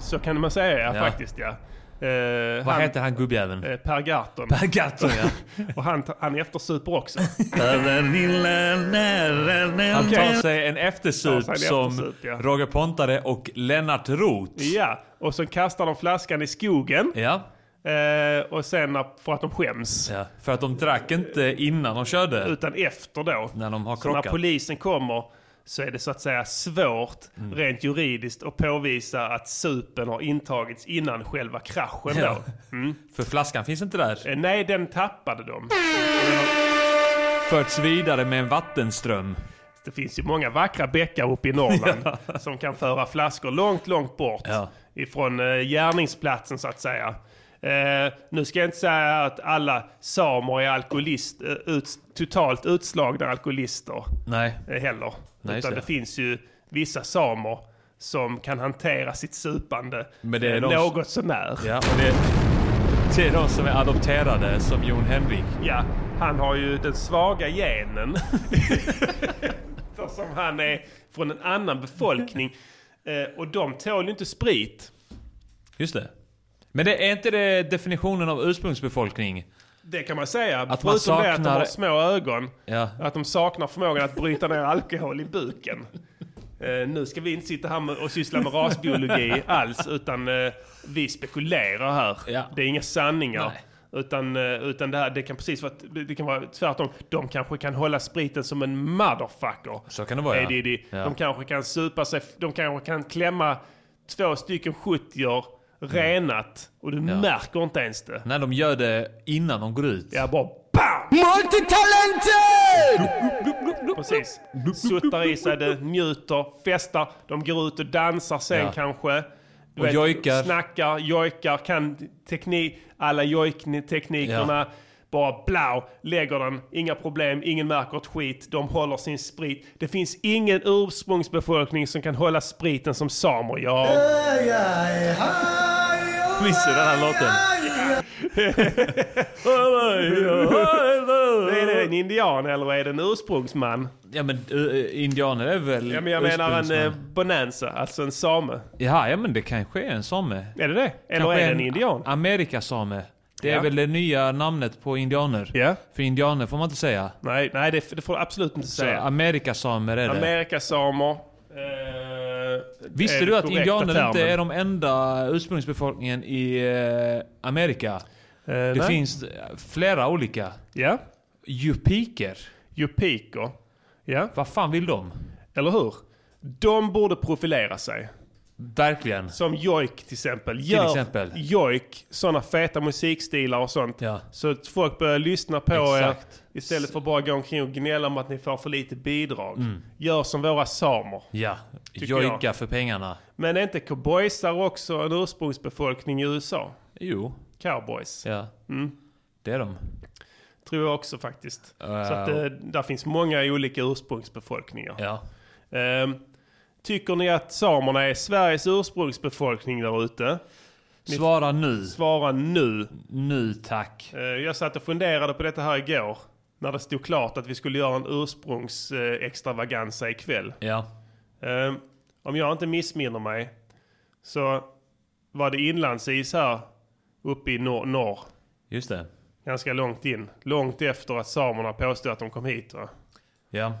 A: så kan man säga ja,
B: Ja.
A: faktiskt ja. Eh, Eh,
B: Vad
A: han,
B: heter han gubbjäveln?
A: eh, Per Gahrton.
B: Per Gahrton ja.
A: Och han, han är eftersuper
B: [laughs]
A: också.
B: Han tar sig en eftersup
A: Ja, en
B: som
A: eftersup, ja.
B: Roger Pontare och Lennart Roth.
A: Ja, och sen kastar de flaskan i skogen.
B: Ja.
A: Eh, och sen när- för att de skäms.
B: ja. För att de drack inte innan de körde.
A: Utan efter då.
B: När de har
A: så när
B: krockat.
A: polisen kommer så är det så att säga svårt
B: Mm.
A: rent juridiskt att påvisa att supen har intagits innan själva kraschen
B: Ja.
A: då.
B: För flaskan finns inte där.
A: Eh, Nej, den tappade de.
B: Förts vidare med en vattenström.
A: Det finns ju många vackra bäckar uppe i
B: [laughs]
A: Norrland som kan föra flaskor långt, långt bort
B: Ja.
A: ifrån eh, gärningsplatsen så att säga. Eh, nu ska jag inte säga att alla samer är alkoholist, eh, ut, totalt utslagna alkoholister
B: Nej.
A: eh, heller.
B: Nej,
A: Utan
B: så.
A: det finns ju vissa samer som kan hantera sitt supande
B: Men det är
A: eh,
B: de-
A: något sånär.
B: Ja, och det, det är de som är adopterade som Jon Henrik.
A: Ja, han har ju den svaga genen. [laughs] Eftersom han är från en annan befolkning. Eh, Och de tål ju inte sprit.
B: Just det. Men det är inte det definitionen av ursprungsbefolkning?
A: Det kan man säga.
B: man
A: Förutom det att de
B: saknar-
A: har små ögon.
B: Ja.
A: Att de saknar förmågan att bryta ner alkohol i buken. Eh, nu ska vi inte sitta här med, och syssla med rasbiologi alls. Utan eh, vi spekulerar här.
B: Ja.
A: Det är inga sanningar.
B: Nej.
A: Utan, eh, utan det här, det kan precis vara, det kan vara tvärtom. De kanske kan hålla spriten som en motherfucker.
B: Så kan det vara,
A: Hey,
B: ja.
A: Diddy.
B: Ja.
A: De kanske kan supa sig, de kanske kan klämma två stycken 70 renat. Och du märker inte ens det.
B: När de gör det innan de går ut.
A: Jag bara BAM! Multitalented! Precis. Suttar i sig det, njuter, festar. De går ut och dansar sen
B: Ja.
A: kanske. Du
B: Och jojkar.
A: Snackar, jojkar, kan teknik, alla jojkteknikerna. Bara blau, lägger den, inga problem, ingen märker ett skit. De håller sin sprit. Det finns ingen ursprungsbefolkning som kan hålla spriten som samer gör.
B: Visst är den här låten?
A: [laughs] Är det en indian eller är det en ursprungsman?
B: Ja men eh, indianer är väl
A: Ja, men jag menar en eh,
B: ursprungsman?
A: bonanza, alltså en same.
B: Ja, ja men det kanske är en same.
A: Är det det? Eller
B: Kanske
A: är det en indian?
B: Amerikasame. Det är
A: Ja.
B: väl det nya namnet på indianer.
A: Ja.
B: För indianer får man inte säga.
A: Nej, nej det, det får du absolut inte
B: Så
A: säga.
B: Amerikasamer är det.
A: Amerikasamer. Eh,
B: Visste
A: är
B: du att
A: korrekta
B: indianer inte
A: termen.
B: är de enda ursprungsbefolkningen i eh, Amerika?
A: Eh,
B: Det
A: nej.
B: finns eh, flera olika.
A: Ja.
B: Jupiker.
A: Yupiker. Ja,
B: Vad fan vill de?
A: eller hur? De borde profilera sig.
B: Verkligen.
A: Som jojk till exempel. Gör
B: exempel.
A: jojk, sådana feta musikstilar och sånt.
B: Ja.
A: Så att folk börjar lyssna på
B: Exakt.
A: er istället för att bara gå omkring och gnälla om att ni får för lite bidrag.
B: Mm.
A: Gör som våra samer.
B: Ja.
A: jag.
B: Jojka för pengarna.
A: Men är inte cowboysar också en ursprungsbefolkning i USA?
B: Jo.
A: Cowboys.
B: Ja.
A: Mm.
B: Det är de.
A: Tror jag också faktiskt. Så att det, där finns många olika ursprungsbefolkningar.
B: Ja.
A: Ehm, tycker ni att samerna är Sveriges ursprungsbefolkning där ute?
B: Svara nu.
A: Svara nu.
B: Nu tack.
A: Eh, jag satt och funderade på detta här igår. När det stod klart att vi skulle göra en ursprungsextravaganza ikväll.
B: Ja.
A: Ehm, om jag inte missminner mig så var det inlandsis här uppe i nor- norr.
B: Just det.
A: Ganska långt in. Långt efter att samerna påstod att de kom hit va?
B: Ja.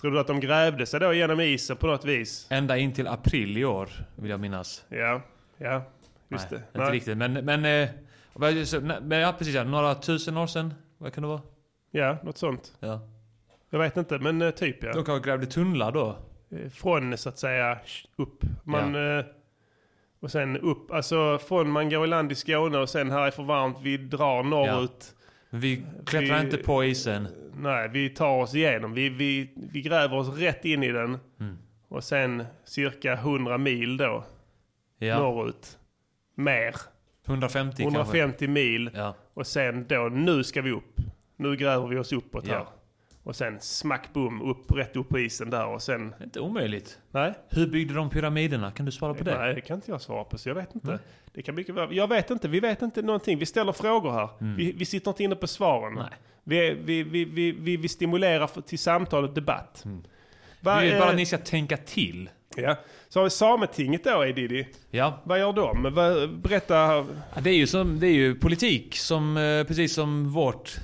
A: Tror du att de grävde sig då genom isen på något vis?
B: Ända in till april i år, vill jag minnas.
A: Ja, ja, just
B: Nej,
A: det.
B: Inte riktigt, men... men eh, vad- så- nej, men ja, precis. Ja, några tusen år sedan. Vad kan det vara?
A: Ja, något sånt.
B: Ja.
A: Jag vet inte, men eh, typ ja.
B: De kanske grävde tunnlar då.
A: Eh, Från så att säga sh- upp. Man, eh, Och sen upp, alltså från man går i land i Skåne och sen här är för varmt, vi drar norrut.
B: Men vi klättrar
A: Vi-
B: inte på isen.
A: Nej, vi tar oss igenom. Vi, vi, vi gräver oss rätt in i den.
B: Mm.
A: Och sen cirka 100 mil då,
B: Ja.
A: norrut. Mer.
B: 150 kanske.
A: 150 mil.
B: Ja.
A: Och sen då, nu ska vi upp. Nu gräver vi oss uppåt
B: Ja.
A: här. Och sen smack bum, upp, rätt upp på isen där och sen...
B: Inte omöjligt.
A: Nej,
B: Hur byggde de pyramiderna? Kan du svara på det?
A: nej, det kan inte jag svara på så jag vet inte. Det kan mycket väl, jag vet inte, vi vet inte någonting. Vi ställer frågor här. Vi, vi sitter inte inne på svaren.
B: Mm. Nej.
A: Vi, vi, vi,
B: Mm.
A: vi, vi, vi stimulerar för, till samtal och debatt. Va,
B: Vi vill
A: eh,
B: bara att ni ska tänka till.
A: Ja. Så har vi Sametinget då, Edidi.
B: Ja.
A: Vad gör de? Vad- Berätta.
B: Ja, Det är ju, som, det är ju politik, som, eh, precis som vårt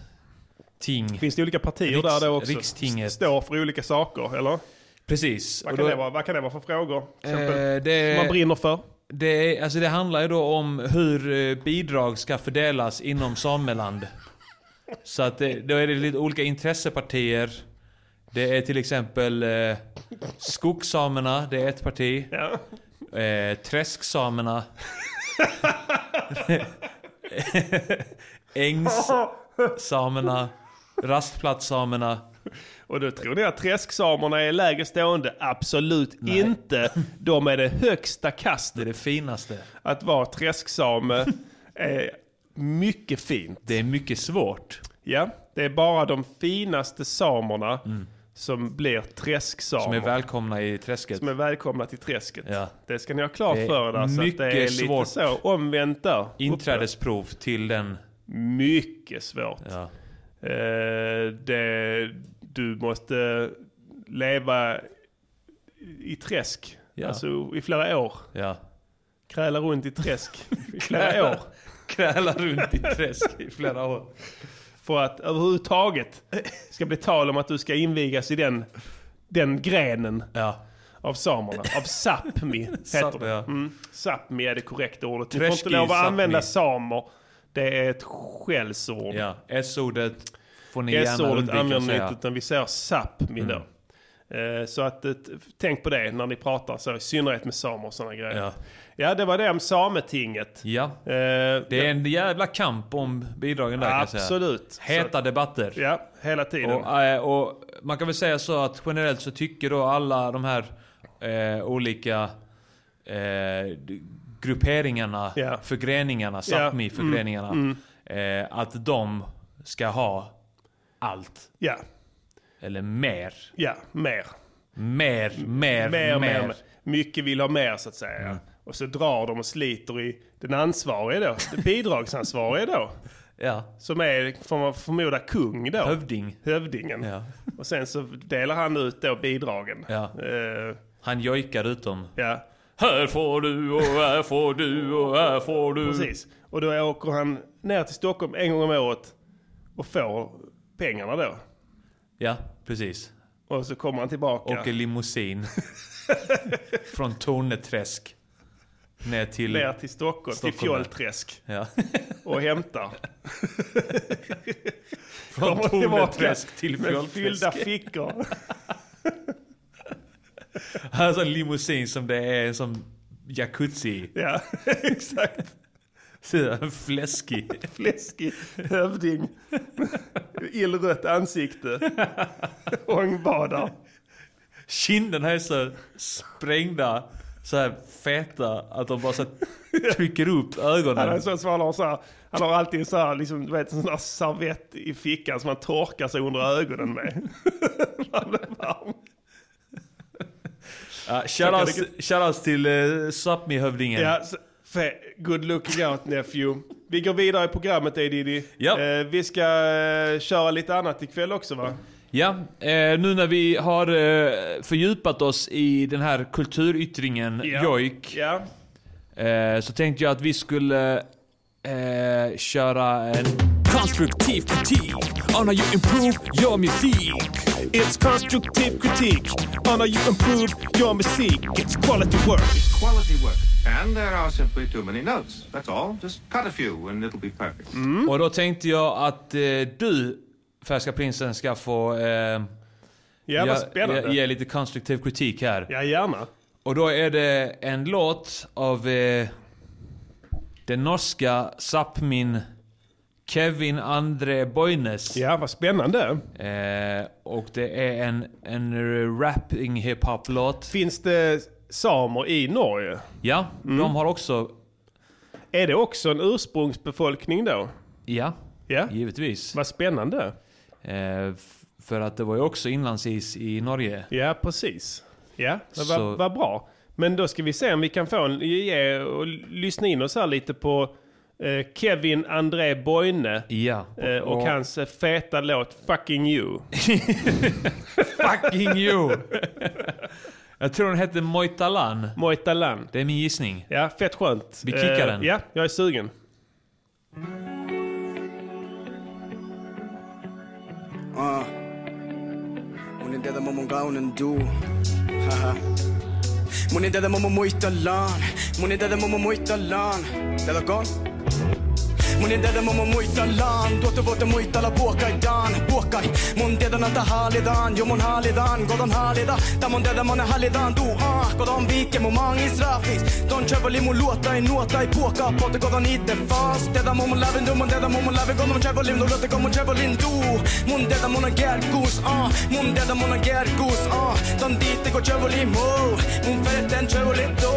B: ting.
A: Finns det olika partier
B: Riks-
A: där då också?
B: Rikstinget.
A: S- Står för olika saker, eller?
B: Precis.
A: Vad
B: Och
A: kan,
B: då-
A: det vara, vad kan det vara för frågor? till exempel?
B: Eh,
A: Som
B: det,
A: man brinner för?
B: det, är- alltså det handlar ju då om hur eh, bidrag ska fördelas inom sameland. Så att det, då är det lite olika intressepartier. Det är till exempel eh, skogssamerna, det är ett parti.
A: Ja.
B: Eh, träsksamerna. [laughs] Ängssamerna. Rastplatssamerna.
A: Och då tror ni att träsksamerna är lägre stående? Absolut inte. De är det högsta
B: Det
A: kastet.
B: är det finaste.
A: Att vara träsksame är mycket fint.
B: Det är mycket svårt.
A: Ja, det är bara de finaste samerna som blir träsksamer.
B: Mm. Som är välkomna i träsket.
A: som är välkomna till träsket.
B: Ja.
A: Det ska ni ha klart
B: Det är
A: för er. där, Så att det är
B: mycket
A: lite
B: svårt.
A: så omvänt där.
B: Inträdesprov till den...
A: Mycket svårt.
B: Ja.
A: Eh, det, du måste leva i träsk.
B: Ja.
A: Alltså i flera år.
B: ja.
A: Kräla runt i
B: [laughs]
A: träsk i flera år.
B: Kräla runt i träsk i flera år.
A: För att överhuvudtaget ska bli tal om att du ska invigas i den, den grenen
B: Ja.
A: av samerna. Av
B: [laughs]
A: Sápmi heter
B: Sápmi,
A: det.
B: ja.
A: Mm. Sápmi är det korrekta ordet. Du får
B: Träsk
A: inte
B: i
A: lov att
B: Sápmi.
A: använda samer. Det är ett skällsord.
B: ja. S-ordet får ni gärna
A: S-ordet
B: undvika att
A: använder ni
B: säga. Mm.
A: inte, utan vi säger Sápmi då. Eh, Så att, eh, tänk på det när ni pratar, så, i synnerhet med samer och sådana grejer.
B: Ja.
A: Ja, det var det om Sametinget.
B: Ja.
A: Eh,
B: Det är en jävla kamp om bidragen där kan jag säga.
A: Absolut. Så
B: Heta
A: att-
B: debatter.
A: Ja, hela tiden.
B: Och, eh, och man kan väl säga så att generellt så tycker då alla de här eh, olika eh, d- grupperingarna,
A: Ja. Mm.
B: förgreningarna, sápmi förgreningarna Eh, att de ska ha allt.
A: Ja,
B: Eller mer.
A: ja, mer.
B: Mer, mer,
A: mer,
B: mer. Mm.
A: mer. mer. Mycket vill ha mer så att säga. Och så drar de och sliter i den ansvarige då, den bidragsansvarige då.
B: Ja.
A: Som är, får man förmoda, kung då.
B: Hövding.
A: Hövdingen.
B: Ja.
A: Och sen så delar han ut då bidragen.
B: Ja.
A: Eh,
B: Han jojkar ut dem.
A: ja.
B: Här får du och här får du och här får du.
A: Precis. Och då åker han ner till Stockholm en gång om året och får pengarna då.
B: Ja, precis.
A: Och så kommer han tillbaka.
B: Åker [laughs] limousin. Från Torneträsk. Ner till...
A: ner till Stockholm, till
B: Stockholm, ja.
A: Fjollträsk
B: [laughs] Ja.
A: och
B: [laughs]
A: hämtar.
B: Från
A: Kommer tillbaka
B: Torneträsk till
A: Med fyllda
B: Fjollträsk.
A: fickor. [laughs]
B: Han har en limousin som det är en sån jacuzzi.
A: Ja, [laughs] exakt.
B: Ser Fläskig.
A: Fläskig hövding. [laughs] Illrött ansikte. [laughs] Ångbadar.
B: Kinderna är så sprängda. Så här feta att de bara så här trycker [laughs] upp
A: Han är en
B: ögonen.
A: sån som han har, så här, han har alltid så här, liksom, du vet, en sån här servett i fickan som han torkar sig under ögonen med. [laughs] han blir varm.
B: Ja, shoutouts- Shoutouts till uh, Sápmi-hövdingen.
A: Ja, så, fe, good looking out nephew. Vi går vidare i programmet Edidi.
B: Ja.
A: Eh, vi ska eh, köra lite annat ikväll också va?
B: Ja, eh, nu när vi har eh, fördjupat oss i den här kulturyttringen jojk.
A: Ja.
B: Eh, så tänkte jag att vi skulle eh, köra en...
C: Constructive critique on how you improve your music.
A: It's constructive critique on how you improve your music. It's quality work.
H: quality work. And there are simply too many notes. That's all. Just cut a few and it'll be perfect.
A: Mm.
B: Och då tänkte jag att eh, du, Färska Prinsen, ska få... Eh,
A: Ja, vad
B: ge- ge,
A: spännande.
B: ge lite konstruktiv kritik här.
A: Ja, gärna.
B: Och då är det en låt av eh, den norska Sápmin Kevin André Boines.
A: Ja, vad spännande.
B: Eh, och det är en, en rapping hiphop-låt.
A: Finns det samer i Norge?
B: Ja,
A: Mm.
B: de har också...
A: Är det också en ursprungsbefolkning då?
B: Ja,
A: Ja,
B: givetvis.
A: vad spännande.
B: Eh, f- för att det var ju också inlandsis i Norge.
A: Ja, precis. Ja, men vad
B: Så-
A: vad bra. Men då ska vi se om vi kan få en, ge och lyssna in oss här lite på eh, Kevin André Boine
B: Ja.
A: eh, och hans eh, feta låt Fucking You. [laughs]
B: Fucking you! Jag tror den hette Mojtalan.
A: Mojtalan.
B: Det är min gissning.
A: Ja, fett skönt. Eh,
B: Vi kickar den.
A: Ja, jag är sugen.
G: Ah. Unë ndedhe më më nga unë ndu Haha Unë ndedhe më më mujtë të lanë Unë ndedhe më më mujtë të lanë Dhe dhe konë? Unë ndedhe më më mujtë të lanë Do të votë mujtë të la buakaj danë Buakaj Unë ndedhe në të hali dhanë Jo mund hali dhanë Godon hali dha Ta mund ndedhe më në hali dhanë Du ah Godon vike mu mangi srafis Ton qevëli mu luataj nuataj Buaka po të godon i të fast Ndedhe më më lavin du Unë ndedhe më më lavin Godon qevëlim Do lutë godon qevëlim du Unë ndedhe më në gergus ah Unë ndedhe më në gergus ah Ton ditë ko qevëli mu Unë feten qevëli du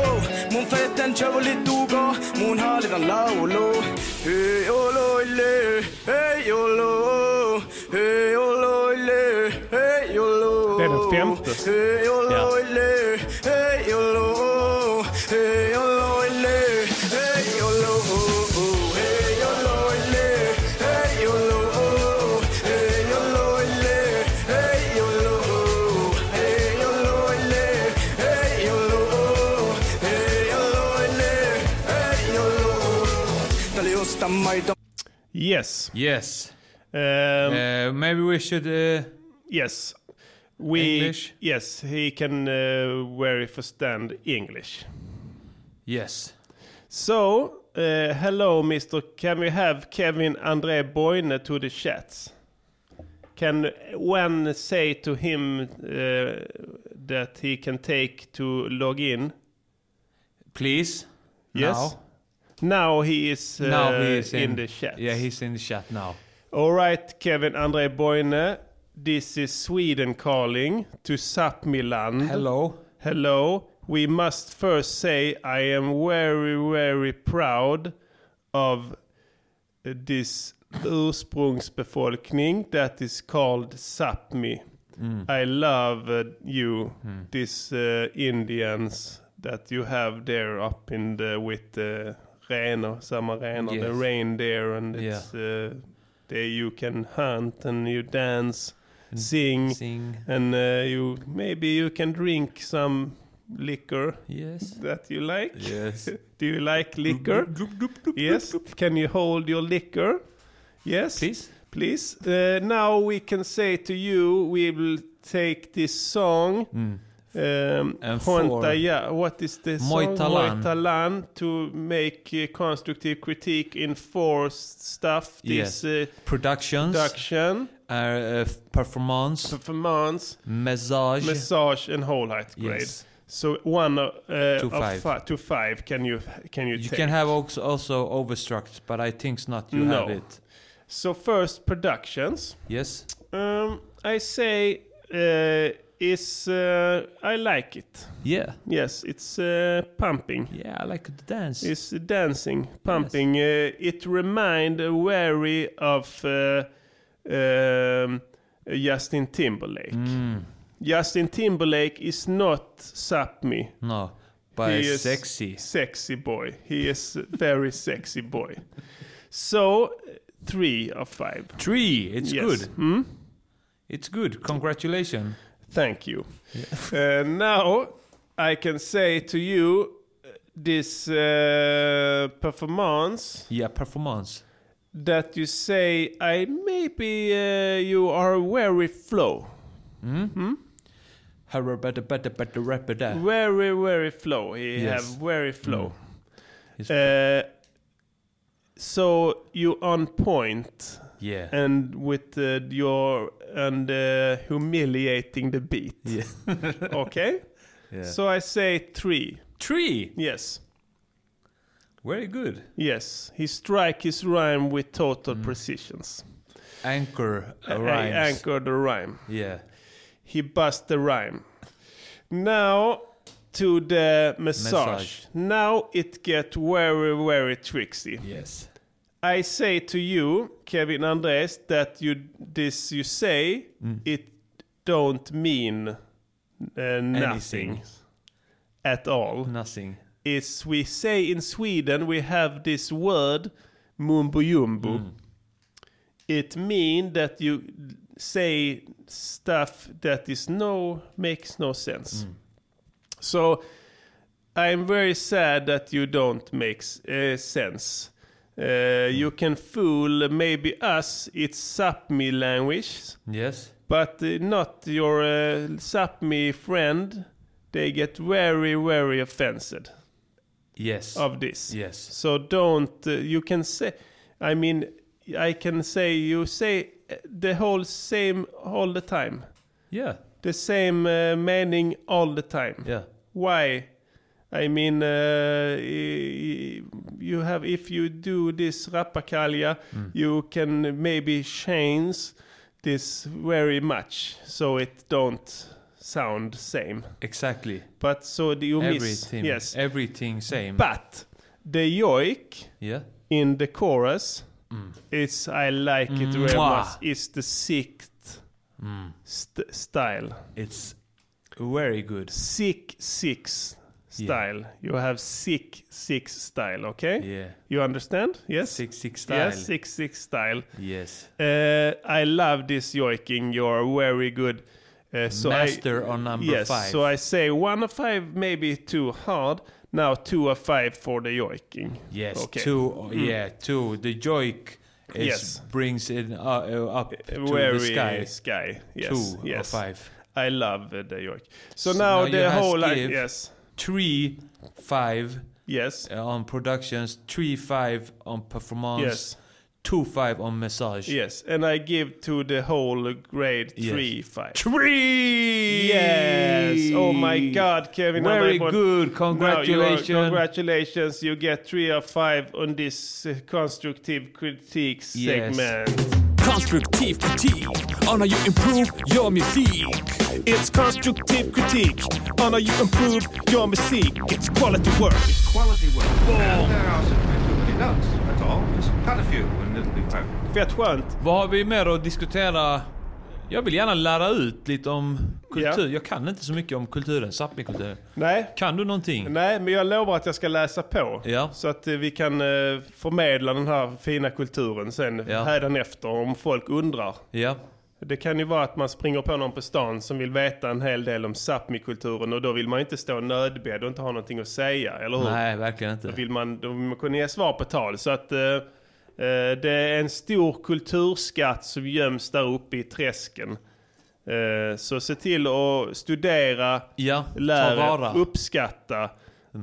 G: Unë feten qevëli du go Unë hali dhanë laulo Hey, olo, ile Hey, olo Hey, olo, ile Hey, olo
A: Det är den femte.
G: Hey, olo,
B: Ja.
G: ile Hey, olo Hey, olo, ile Hey, olo Hey, olo, ile Hey, olo Hey, olo, ile Hey, olo Hey, olo, ile Hey, olo Hey, olo, ile Hey, olo Dale osta majda
A: Yes.
B: Yes.
A: Ehm,
B: Uh, maybe we should... Uh,
A: yes. We,
B: English?
A: Yes, he can uh, very understand English.
B: yes.
A: So, uh, hello Mr. Can we have Kevin Andre Boyne to the chats? Can one say to him uh, that he can take to log in?
B: Please.
A: Yes.
B: Now.
A: Now he is, uh,
B: now he is
A: in,
B: in,
A: the chat.
B: Yeah, he's in the chat now.
A: All right, Kevin Andre Boyne. This is Sweden calling to Sapmiland.
B: Hello.
A: Hello. We must first say I am very, very proud of this ursprungsbefolkning that is called Sapmi. I love uh, you, these uh, Indians that you have there up in the with the reno, summer reno, the
B: Yes.
A: reindeer, and it's uh, there you can hunt and you dance, sing,
B: Sing.
A: and uh, you maybe you can drink some liquor [laughs]
B: Yes.
A: that you like.
B: Yes.
A: [laughs] Do you like liquor? yes. Can you hold your liquor? Yes.
B: Please.
A: Please. Uh, now we can say to you, we will take this song. Um,
B: Mm. And
A: Honta
B: for-
A: Ja- what is the song?
B: Moitalan.
A: Moitalan to make uh, constructive critique in four s- stuff. This
B: Yes.
A: uh,
B: Productions.
A: production,
B: Our, uh, f- performance.
A: performance,
B: massage.
A: massage, and whole height grade.
B: Yes.
A: So one uh,
B: To
A: of
B: five.
A: fi- to five. Can you can you
B: You
A: take?
B: can have also, also overstruct, but I think not you
A: No.
B: have it.
A: So first productions.
B: Yes.
A: Um, I say uh, is uh, I like it.
B: Yeah.
A: Yes, it's uh, pumping.
B: Yeah, I like to dance.
A: It's dancing, pumping. Uh, it remind uh, very of uh, um, Justin Timberlake.
B: Mm.
A: Justin Timberlake is not Sapmi.
B: no. But
A: He
B: it's
A: is
B: sexy.
A: Sexy boy. He is a very sexy boy. So three of five.
B: Three. It's
A: Yes. Hmm?
B: good. It's good. Congratulations.
A: Thank you. Uh, now I can say to you uh, this uh, performance
B: Yeah, performance.
A: that you say I maybe uh, you are very flow,
B: Hurra, better, better, better, rapper, there.
A: very very flow. You
B: Yes.
A: have very flow.
B: It's-
A: Uh, so you on point
B: yeah.
A: and with uh, your and uh, humiliating the beat. [laughs] okay. So I say three.
B: Three.
A: Yes.
B: Very good.
A: Yes, he strike his rhyme with total precisions.
B: Anchor uh,
A: I
B: Mm. rhymes.
A: anchor the rhyme.
B: Yeah.
A: He bust the rhyme. Now to the massage.
B: Massage.
A: Now it get very very tricksy.
B: Yes.
A: I say to you, Kevin Andres, that you this you say it don't mean uh, nothing
B: Anything. Mm.
A: at all.
B: Nothing.
A: is we say in Sweden we have this word mumbo jumbo. It means that you say stuff that is no makes no sense. So I'm very sad that you don't make s- uh, sense. Uh, you can fool maybe us, it's Sapmi language,
B: Yes.
A: but uh, not your uh, Sapmi friend. They get very, very offended
B: Yes.
A: of this.
B: Yes.
A: So don't, uh, you can say, I mean, I can say, you say uh, the whole same all the time.
B: Yeah.
A: The same uh, meaning all the time.
B: Yeah.
A: Why? I mean, uh, i- you have if you do this rapakalia,
B: Hmm.
A: you can maybe change this very much so it don't sound same.
B: Exactly.
A: But so do you miss?
B: Everything.
A: Yes.
B: Everything same.
A: But the yoik
B: yeah.
A: in the chorus is I like it very
B: Mm. Mwah. Mm.
A: much. Is the sixth st- style.
B: It's very good.
A: sick six style. You have sick six style, okay?
B: Yeah.
A: You understand? Yes?
B: Six six style.
A: Yes, sick six style.
B: Yes.
A: Uh, I love this yoiking. You're very good. Uh, so
B: Master
A: I,
B: on number
A: yes,
B: five.
A: so I say one of five, maybe too hard. Now two of five for the yoiking.
B: Yes.
A: okay. Hmm.
B: Two. Yeah. Two. The joik is,
A: Yes.
B: brings it uh, uh, up to
A: Very
B: the sky.
A: sky. Yes.
B: Two or
A: yes.
B: five.
A: I love uh, the yoik. So,
B: So
A: now,
B: now you
A: the
B: has
A: whole
B: give-
A: yes,
B: Three, five
A: yes,
B: uh, on productions. Three five on performance.
A: Yes.
B: Two five on massage.
A: yes, and I give to the whole grade
B: Yes.
A: three five.
B: Three.
A: Yes. Oh my God, Kevin. how
B: Very
A: they want- Now
B: good.
A: you are-
B: Congratulations.
A: congratulations. You get three of five on this uh, constructive critique
B: Yes.
A: segment.
C: Constructive critique on how you improve your music. It's constructive critique on how you improve your music. It's quality work.
H: Quality work. And there are simply too many notes. That's all. Just cut a few and it'll be perfect.
A: Fett skönt.
B: Vad har vi mer att diskutera? Jag vill gärna lära ut lite om kultur.
A: Ja.
B: Jag kan inte så mycket om kulturen, Sápmi-kulturen.
A: Nej.
B: Kan du någonting?
A: Nej, men jag lovar att jag ska läsa på.
B: Ja.
A: Så att eh, vi kan eh, förmedla den här fina kulturen sen
B: Ja.
A: hädanefter om folk undrar.
B: Ja.
A: Det kan ju vara att man springer på någon på stan som vill veta en hel del om Sápmi-kulturen och då vill man ju inte stå nödbedd och inte ha någonting att säga, eller hur?
B: Nej, verkligen
A: Då
B: inte.
A: vill man, då vill man kunna ge svar på tal. Så att eh, eh, det är en stor kulturskatt som göms där uppe i träsken. Eh, så se till att studera,
B: Ja, ta
A: lära,
B: vara. Mm.
A: uppskatta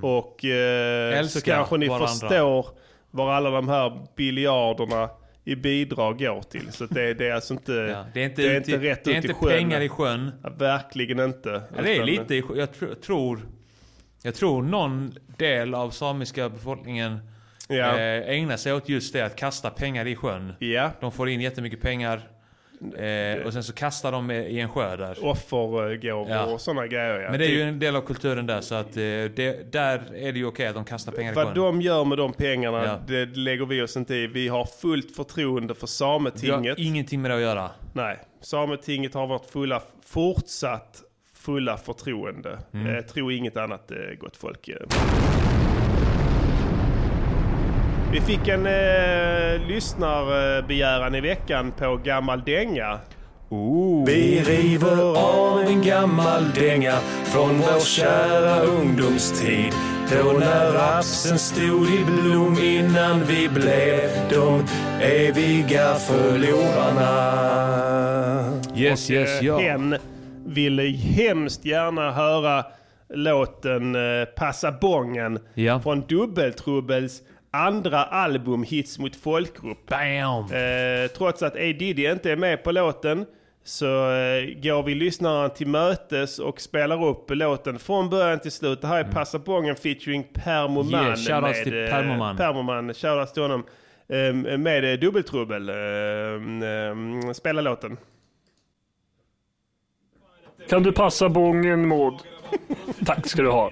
A: och eh, så
B: Älska
A: kanske ni
B: varandra.
A: förstår var alla de här biljarderna i bidrag går till. Så att det, det är alltså inte,
B: [laughs] Ja. Det är inte,
A: det är
B: ut i-
A: inte rätt
B: det är
A: ut
B: inte
A: i sjön.
B: pengar i sjön.
A: Ja, verkligen inte.
B: Ja, det är
A: Utan-
B: lite i sjön. Jag tr- tror... Jag tror någon del av samiska befolkningen
A: Ja.
B: eh, ägnar sig åt just det, att kasta pengar i sjön.
A: Ja,
B: De får in jättemycket pengar eh, och sen så kastar de i en sjö där.
A: offergåvor
B: Ja.
A: och sådana grejer. Ja. Typ
B: Men det är ju en del av kulturen där, så att eh, det, där är det ju okej att de kastar pengar i sjön.
A: Vad de gör med de pengarna,
B: Ja.
A: det lägger vi oss inte i. Vi har fullt förtroende för
B: Vi har
A: Sametinget.
B: ingenting med det att göra.
A: Nej, Sametinget har varit fulla, fortsatt fulla förtroende. Eh, tro inget annat, eh, gott folk. Eh. Vi fick en eh, lyssnarbegäran i veckan på gammal dänga.
C: Vi river av en gammal dänga från vår kära ungdomstid. Då när rapsen stod i blom innan vi blev de eviga förlorarna.
B: Yes, yes,
A: Eh, Hen ville hemskt gärna höra låten eh, Passa bången
B: Ja.
A: från Dubbeltrubbels andra album Hits mot folkgrupp.
B: Bam!
A: Eh, trots att A. Diddy inte är med på låten så eh, går vi lyssnaren till mötes och spelar upp låten från början till slut. Det här är Passa bången featuring Permoman.
B: Yeah, Mm. shoutouts till
A: eh,
B: Permoman.
A: Permoman, shoutouts till honom. eh, Med eh, Dubbeltrubbel. Eh, eh, Spela låten.
I: Kan du passa bången, Maud? Tack ska du ha.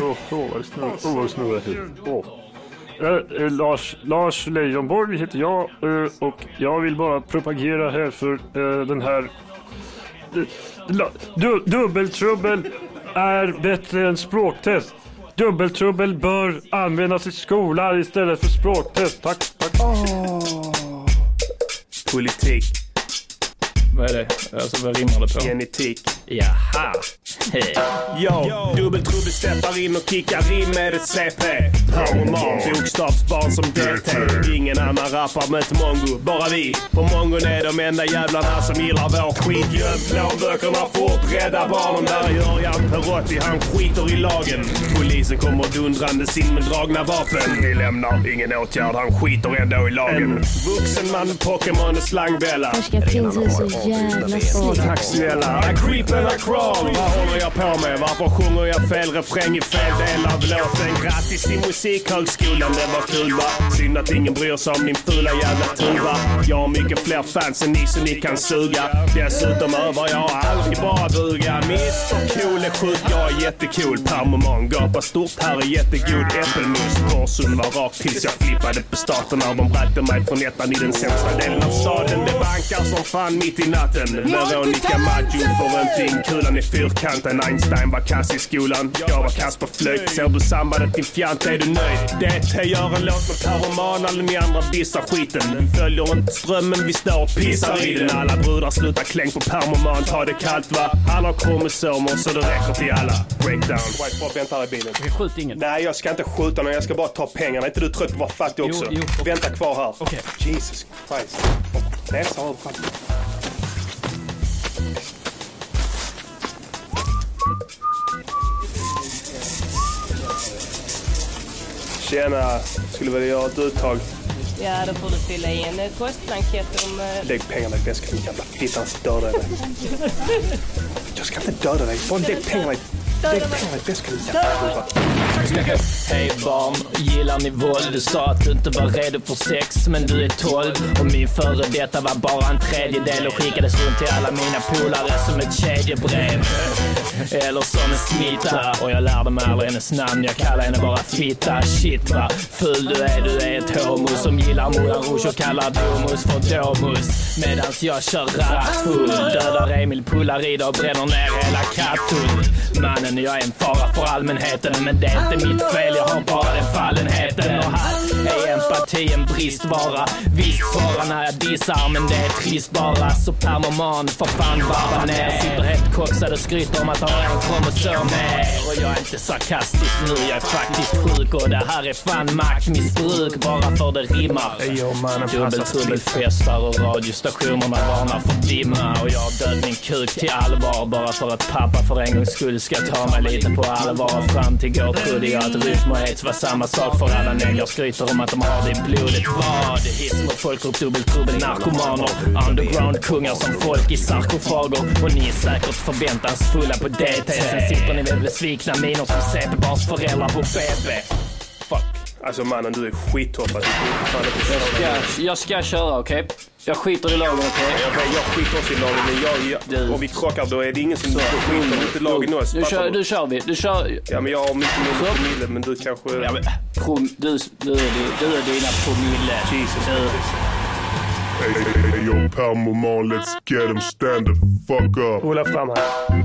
I: Åh, åh, vad det snurrar. Åh, vad det snurrar här. Åh. Eh, eh, Lars, Lars Leijonborg heter jag eh, och jag vill bara propagera här för eh, den här eh, La- Du, dubbeltrubbel är bättre än språktest. Dubbeltrubbel bör användas i skolan istället för språktest. Tack, tack.
A: Politik,
J: Vad är det? Alltså vad rimmar det på?
A: genetik.
J: Jaha. Hej.
A: Yo, dubbeltrubbel steppar in och kickar in med ett CP. Pyroman, bokstavsbarn som DT. Ingen annan rappar med ett mongo, bara vi. På mongon är de enda jävlarna som gillar vår skit. Göm plånböckerna fort, rädda barnen. Där gör jag en Perotti, han skiter i lagen. Polisen kommer dundrandes in med dragna vapen. Vi lämnar ingen åtgärd, han skiter ändå i lagen. En vuxen man med Pokémon och slangbella.
D: Renarna har avbrutna ben.
A: Tack snälla. I creep and I crawl. Vad håller jag på med? Varför sjunger jag fel refräng i fel del av låten? Grattis till Musikhögskolan, det var kul va? Synd att ingen bryr sig om din fula jävla tuva. Jag har mycket fler fans än ni så ni kan suga. Dessutom övar jag aldrig bara duga. Mr Cool är sjuk, jag är jättecool. Permoman gapar stort, här är jättegod äppelmos. Korsun var rak tills jag flippade på starten när de bragte mig från ettan i den sämsta delen av staden. Det bankar som fan mitt i natten. Veronica Maggio får inte in kulan i fyrkanten. Einstein var kass i skolan, jag var kass på flöjt. Ser du sambandet din fjant, är du nöjd? DT gör en låt med Taroman, alla ni andra dissar skiten. Vi följer inte strömmen, vi står och pissar i den. Alla brudar slutar kläng på permoman, ta det kallt va? Alla har kromosomer så det räcker till alla. Breakdown. White Bob väntar i bilen.
J: Vi skjuter ingen.
A: Nej, jag ska inte skjuta någon. Jag ska bara ta pengarna. Är inte du trött på att vara fattig också?
J: jo, okej.
A: Vänta kvar här.
J: Okej.
A: Jesus Christ. Näsa har du fram. Tjena. Skulle vilja göra ett uttag.
E: Ja, då får du fylla i en eh, postblankett om... eh,
A: Lägg pengarna i väskan, din jävla fitta. Han ska döda dig. Jag ska inte döda dig. Bara lägg pengarna i... Lägg pengarna i väskan, din jävla fitta.
J: Hej barn, gillar ni våld? Du sa att du inte var redo för sex, men du är 12 Och min före detta var bara en tredjedel och skickades runt till alla mina polare som ett kedjebrev Eller som en smitta Och jag lärde mig aldrig hennes namn, jag kallar henne bara fitta Ah, Shit va, ful du är, du är ett homo som gillar Moulin Rouge och kallar domus för domus Medans jag kör rattfull, dödar Emil, pullar rider och bränner ner hela Katthult Mannen, jag är en fara för allmänheten Men det är inte mitt fel, jag har bara den fallenheten Och här är empati en bristvara Visst svarar när jag dissar, men det är trist bara Så permoman, för fan varva ner Sitter helt koksad och skryter om att ha en kromosom mer Och jag är inte sarkastisk nu, jag är faktiskt sjuk Och det här är fan maktmissbruk, bara för det rimmar
A: Jo, mannen, passa
J: Dubbeltrubbel festar och radiostationerna varnar för dimma Och jag har död min kuk till allvar Bara för att pappa för en gångs skull ska ta mig lite på allvar Fram till går trodde jag att rytm och aids var samma sak för alla negrer Skryter om att de har det i blodet Vad? Hism och folkgrupp, dubbeltrubbel, narkomaner Underground-kungar som folk i sarkofager Och ni är säkert förväntansfulla på DT Sen sitter ni med besvikna miner som CP-barns föräldrar på BB Fuck
A: Alltså mannen, du är skittoppad.
J: Ja, jag ska köra, okej? Jag skiter i lagen, okej?
A: Jag, jag skiter också i lagen, men jag, jag,
J: Du.
A: om vi krockar då är det ingen som skiter om inte lagen oss.
J: Nu kör,
A: Fattar du?
J: nu kör vi. Du kör...
A: Ja, men jag har mycket mindre
J: Så.
A: promille, men du kanske...
J: Ja, men, prom, du, du, du, du är dina promille. Jesus. Du,
C: Hey, yo, Palmoman, let's get him stand the fuck up.
A: Ola fram här.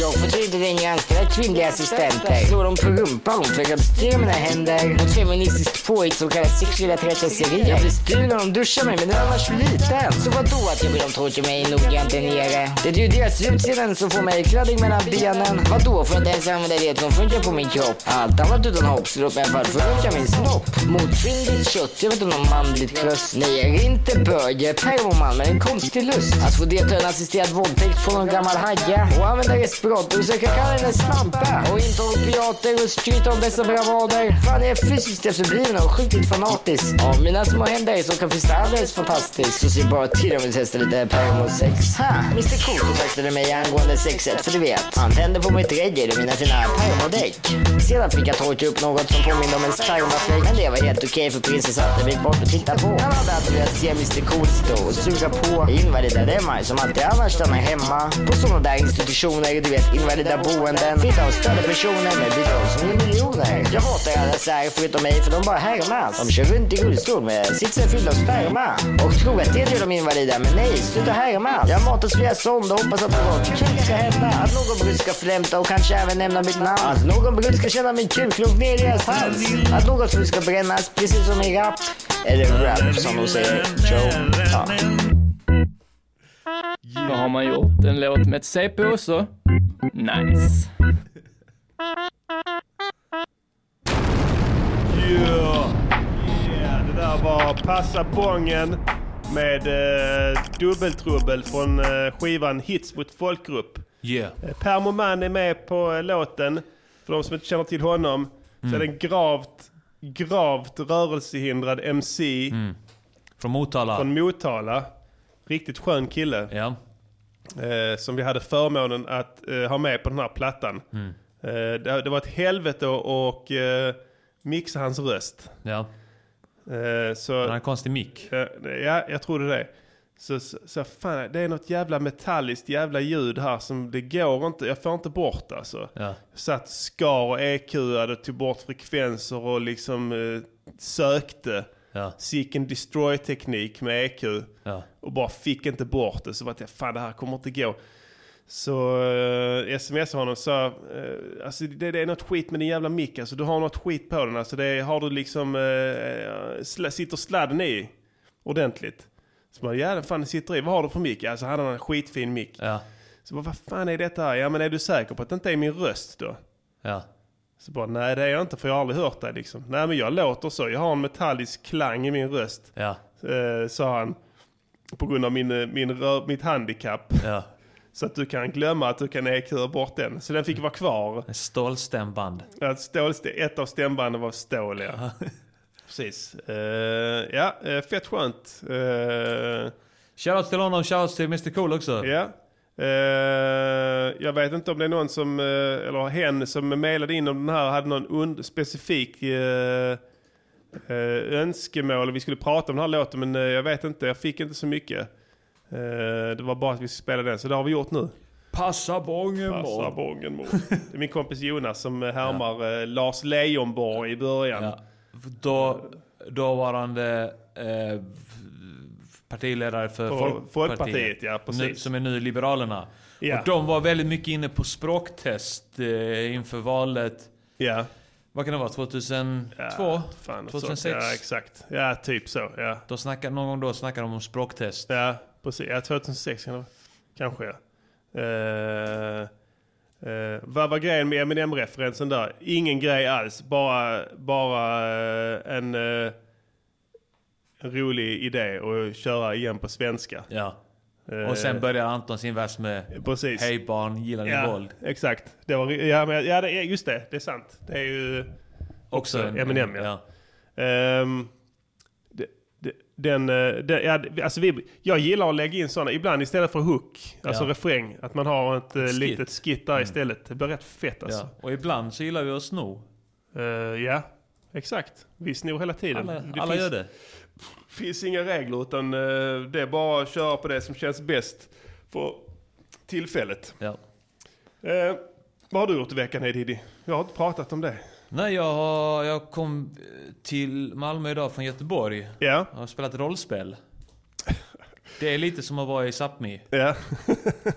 E: Jag får tydligen inga anställda kvinnliga assistenter. Jag slår dem på rumpan och försöker bestyra mina händer. Något feministiskt påhitt som kallas sexuella trakasserier. Jag blir stul när de duschar mig, men den är annars så liten. Så vadå att jag vill de torka mig noggrant där nere? Det är ju deras utseenden som får mig kladdig mellan benen. Vadå för att ens använda det som funkar på min kropp? Allt annat utan hoppsirop, men för att funka min snopp. Mot kvinnligt kött, jag vet inte om manligt bröst. Nej, jag är inte bög, jag är permoman med en konstig lust. Att få delta i en assisterad våldtäkt på någon gammal hagga och använda respirator och söka kalla henne svampa och inte opiater och skryta om dessa bravader. Fan, jag är fysiskt efterbliven och sjukligt fanatisk. Av mina små händer som kan fista alldeles fantastiskt så ser bara till om vi testar lite permosex. Ha! Mr Cool kontaktade mig angående sexet, för du vet. Han tände på mitt reggae och mina fina permodäck. Sedan fick jag torka upp något som påminner om en spermafläck. Men det var helt okej för prinsessan satte mig bort och tittade på. Han hade alltid velat se Mr Cool stå och suga på invalida remmar som alltid annars stannar hemma på sådana där institutioner du vet invalida boenden. Flytta av större personer med bidrag som ger miljoner. Jag hatar alla sär förutom mig för de bara härmas. De kör runt i rullstol med sitsen fylld av sperma. Och tror att det gör dem invalida, men nej, sluta härmas. Jag matas flera sonder och hoppas att något kul ska hända. Att någon brud ska flämta och kanske även nämna mitt namn. Att någon brud ska känna min kulklump ner i deras hals. Att något brud ska brännas precis som i rap. Eller rap som de säger, Joe. Ja.
J: Vad har man gjort? En låt med ett C på också? Nice.
A: Yeah. Yeah, det där var Passa Bongen med eh, Dubbeltrubbel från eh, skivan Hits mot folkgrupp.
B: Yeah.
A: Eh, Per Moman är med på eh, låten. För de som inte känner till honom så
B: Mm.
A: är det en gravt, gravt rörelsehindrad MC
B: Mm. Från Motala.
A: från Motala. Riktigt skön kille. Eh, som vi hade förmånen att eh, ha med på den här plattan.
B: Mm.
A: Eh, det, det var ett helvete att och, eh, mixa hans röst.
B: Ja.
A: Eh, så,
B: Han har en konstig mick.
A: ja, jag trodde det. Så, så, så fan, det är något jävla metalliskt jävla ljud här som det går inte, jag får inte bort alltså.
B: Ja.
A: Jag satt skar och EQade, tog bort frekvenser och liksom eh, sökte.
B: Ja.
A: Seek and destroy teknik med EQ.
B: Ja.
A: Och bara fick inte bort det. Så var jag, fan det här kommer inte gå. Så eh, sms honom och sa, eh, alltså det, det är något skit med din jävla mick. Alltså du har något skit på den. Alltså det är- har du liksom, eh, sla, sitter sladden i ordentligt? Så bara, ja den fan den sitter i. Vad har du för mick? Alltså han har en skitfin mick. Så bara, vad fan är detta här? Ja men är du säker på att det inte är min röst då?
B: Ja.
A: Så bara, nej det är jag inte för jag har aldrig hört det liksom. Nej men jag låter så, jag har en metallisk klang i min röst.
B: Ja.
A: Eh, sa han. På grund av min, eh, min, rö- mitt handikapp. Så att du kan glömma att du kan EQ bort den. Så den fick vara kvar.
B: En stålstämband.
A: Att stål, ett av stämbanden var stål ja. Precis. Eh, ja, eh, fett skönt. Uh,
B: shoutout till honom, shoutout till Mr Cool också.
A: Ja. Eh, jag vet inte om det är någon som, eh, eller hen som mejlade in om den här hade någon und- specifik eh, eh, önskemål. Vi skulle prata om den här låten men eh, jag vet inte, jag fick inte så mycket. Eh, det var bara att vi skulle spela den, så det har vi gjort nu.
B: Passa bången
A: Passa bången mor. [laughs] Det är min kompis Jonas som härmar eh, Lars Leijonborg i början.
B: Då, dåvarande eh, partiledare för
A: För
B: Folkpartiet.
A: Folkpartiet, ja, precis.
B: Nu, som är nu Liberalerna.
A: Ja.
B: Och de var väldigt mycket inne på språktest eh, inför valet.
A: Ja.
B: Vad kan det vara? 2002?
A: Ja, fan, något sånt.
B: 2006?
A: Ja, exakt. Ja, typ så. Ja.
B: Då snackar, någon gång då snackade de om språktest.
A: Ja, precis. Ja, 2006 kan det vara. Kanske ja. Eh, eh, vad var grejen med Eminem-referensen där? Ingen grej alls. Bara, bara eh, en eh, rolig idé att köra igen på svenska.
B: Ja.
A: Eh,
B: Och sen börjar Anton sin vers med
A: Precis.
B: Hej barn, gillar ni
A: ja,
B: våld?
A: Exakt. Det var, ja, men, ja det, är- just det. Det är sant. Det är ju också,
B: en-
A: Eminem ja.
B: ja.
A: Ehm, det- det- den, eh, den, ja, det- alltså vi, jag gillar att lägga in sådana, ibland istället för hook, alltså
B: Ja.
A: refräng, att man har ett eh,
B: Skit. Mm.
A: litet skit där istället. Det blir rätt fett alltså.
B: Ja. Och ibland så gillar vi att sno.
A: Eh, ja, exakt. Vi snor hela tiden.
B: Alla, alla
A: finns,
B: gör det.
A: finns inga regler utan eh, det är bara att köra på det som känns bäst för tillfället.
B: Ja.
A: Eh, vad har du gjort i veckan Hedidi? Jag har inte pratat om det.
B: Nej, jag, har- jag kom eh, till Malmö idag från Göteborg.
A: Ja.
B: Jag har spelat rollspel. Det är lite som att vara i Sápmi.
A: Ja. [laughs]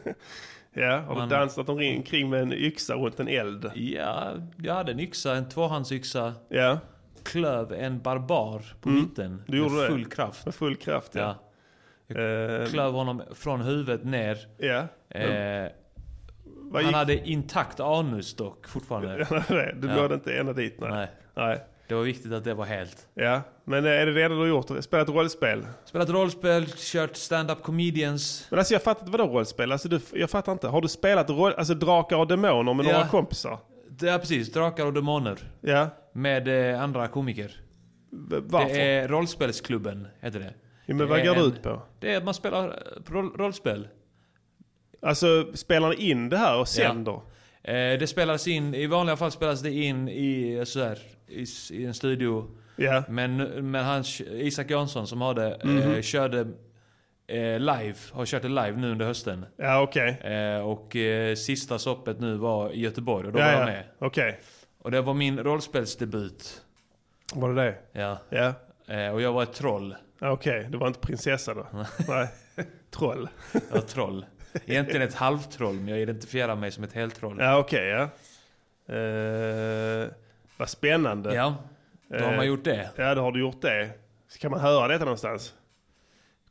A: ja, har
B: Man-
A: du dansat omkring med en yxa runt en eld?
B: Ja, jag hade en yxa, en tvåhandsyxa.
A: Ja.
B: Klöv en barbar på
A: Mm.
B: mitten.
A: Du gjorde
B: med
A: det.
B: full kraft.
A: Med full kraft, ja.
B: Ja.
A: Eh,
B: Klöv honom från huvudet ner.
A: Ja.
B: Eh,
A: Vad
B: han
A: gick-
B: hade intakt anus
A: [laughs]
B: dock fortfarande.
A: Ja, det- du nådde inte ända dit, nej.
B: nej. Det var viktigt att det var helt.
A: ja. Men eh, är det det enda du har gjort? Spelat rollspel?
B: Spelat rollspel, kört stand-up comedians.
A: Men alltså jag fattar inte, vadå rollspel? Alltså du, jag fattar inte. Har du spelat roll, alltså drakar och demoner med
B: Ja.
A: några kompisar?
B: Ja precis, drakar och demoner.
A: Ja.
B: Med eh, andra komiker.
A: varför?
B: Det är rollspelsklubben, heter det.
A: Ja,
B: Det
A: men vad
B: är
A: går det
B: en-
A: ut på?
B: Det är att man spelar eh, roll, rollspel.
A: Alltså spelar ni in det här och sen
B: Ja.
A: då?
B: Eh, det spelas in, i vanliga fall spelas det in i, eh, så här, i, s- i en studio.
A: Ja.
B: Men, men han, Isak Jansson som har det, eh,
A: Mhm.
B: körde eh, live, har kört det live nu under hösten.
A: Ja, okej.
B: Eh, och eh, sista soppet nu var i Göteborg och då
A: Ja,
B: var
A: ja.
B: jag med.
A: Okej.
B: Och det var min rollspelsdebut.
A: Var det det?
B: Ja.
A: Ja.
B: Eh, och jag var ett troll.
A: Ja, Okej, det var inte prinsessa då?
B: [laughs]
A: Nej. Troll.
B: Jag var ett troll. Egentligen ett halvtroll, men jag identifierar mig som ett heltroll.
A: Ja, okej, ja. Eh, vad spännande.
B: Ja, då har
A: Eh,
B: man gjort det.
A: Ja, då har du gjort det. Så Kan man höra detta någonstans?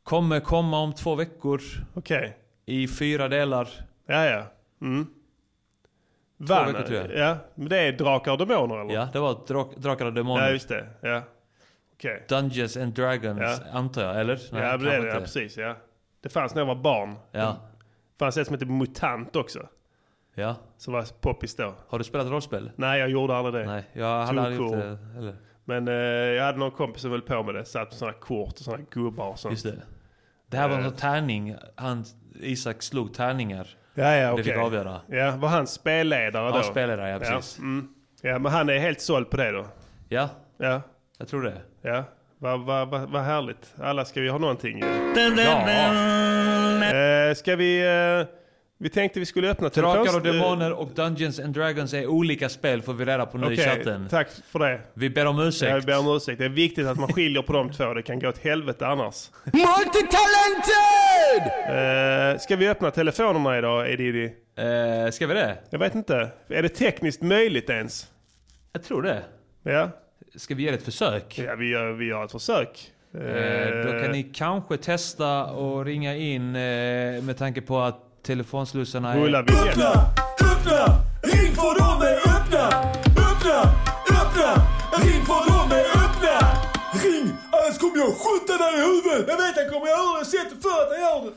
B: Kommer komma om två veckor.
A: Okej.
B: I fyra delar.
A: Ja, ja. Mm.
B: Två
A: Vann,
B: veckor tror jag.
A: ja, men det är drakar och demoner eller?
B: Ja, det var drak- Drakar och Demoner.
A: Ja, just det. Ja, okej.
B: Dungeons and Dragons,
A: Ja.
B: antar jag, eller? Nej,
A: ja,
B: kanske
A: det är det.
B: inte.
A: Ja, precis. Ja. Det fanns när jag var barn.
B: Ja.
A: Det fanns ett som hette Mutant också.
B: Ja.
A: Som var poppis då.
B: Har du spelat rollspel?
A: Nej, jag gjorde aldrig det.
B: Nej, jag hade
A: Too
B: aldrig gjort
A: cool.
B: det heller.
A: Men eh, jag hade någon kompis som höll på med det. Satt på sådana kort och sådana gubbar och sånt.
B: Just det. Det här var
A: Eh.
B: en tärning. Han, Isak slog tärningar.
A: Ja, ja,
B: Det
A: okej.
B: fick avgöra.
A: Ja, var han spelledare
B: Ja,
A: då?
B: spelledare, ja, precis.
A: Ja, mm. ja, men han är helt såld på det då?
B: Ja.
A: Ja.
B: Jag tror det.
A: Ja, vad va, va, va härligt. Alla ska vi ha någonting ju. Eh, ska vi... Eh, vi tänkte vi skulle öppna
B: Drakar
A: telefons-
B: och Demoner och Dungeons and Dragons är olika spel får vi reda på nu i
A: Okej,
B: chatten.
A: tack för det.
B: Vi ber om ursäkt.
A: Ja, vi ber om ursäkt. Det är viktigt att man skiljer på de två. Det kan gå åt helvete annars.
C: Multitalented!
A: Eh, ska vi öppna telefonerna idag, Edidi?
B: Eh, ska vi det?
A: Jag vet inte. Är det tekniskt möjligt ens?
B: Jag tror det.
A: Ja.
B: Ska vi ge det ett försök?
A: Ja, vi gör, vi gör ett försök.
B: Eh, Då kan ni kanske testa och ringa in eh, med tanke på att telefonslussarna är...
A: Rulla vignetten.
C: Öppna! Ring för dem är öppna! Öppna! Öppna! Ring för dem är öppna! Ring! Annars kommer jag skjuta dig i huvudet! Jag vet, jag kommer göra det. Jag har sett det för att jag gör det.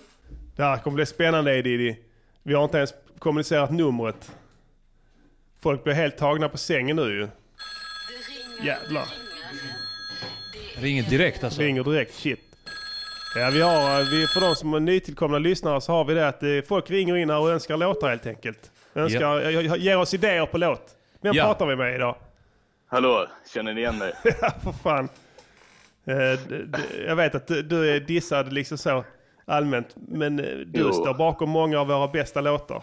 A: Det här kommer bli spännande Edidi. Vi har inte ens kommunicerat numret. Folk blir helt tagna på sängen nu ju. Jävlar.
B: Ringer direkt alltså?
A: Ringer direkt, shit. Ja, vi har, eh, vi, för de som är nytillkomna lyssnare så har vi det att eh, folk ringer in här och önskar låtar helt enkelt. Önskar, ja. ger oss idéer på låt. Vem
K: Ja.
A: pratar vi med idag?
K: Hallå, känner ni igen mig?
A: [laughs] Ja, för fan. Eh, d- d- Jag vet att du- du är dissad liksom så allmänt, men eh, du
K: Jo.
A: står bakom många av våra bästa låtar.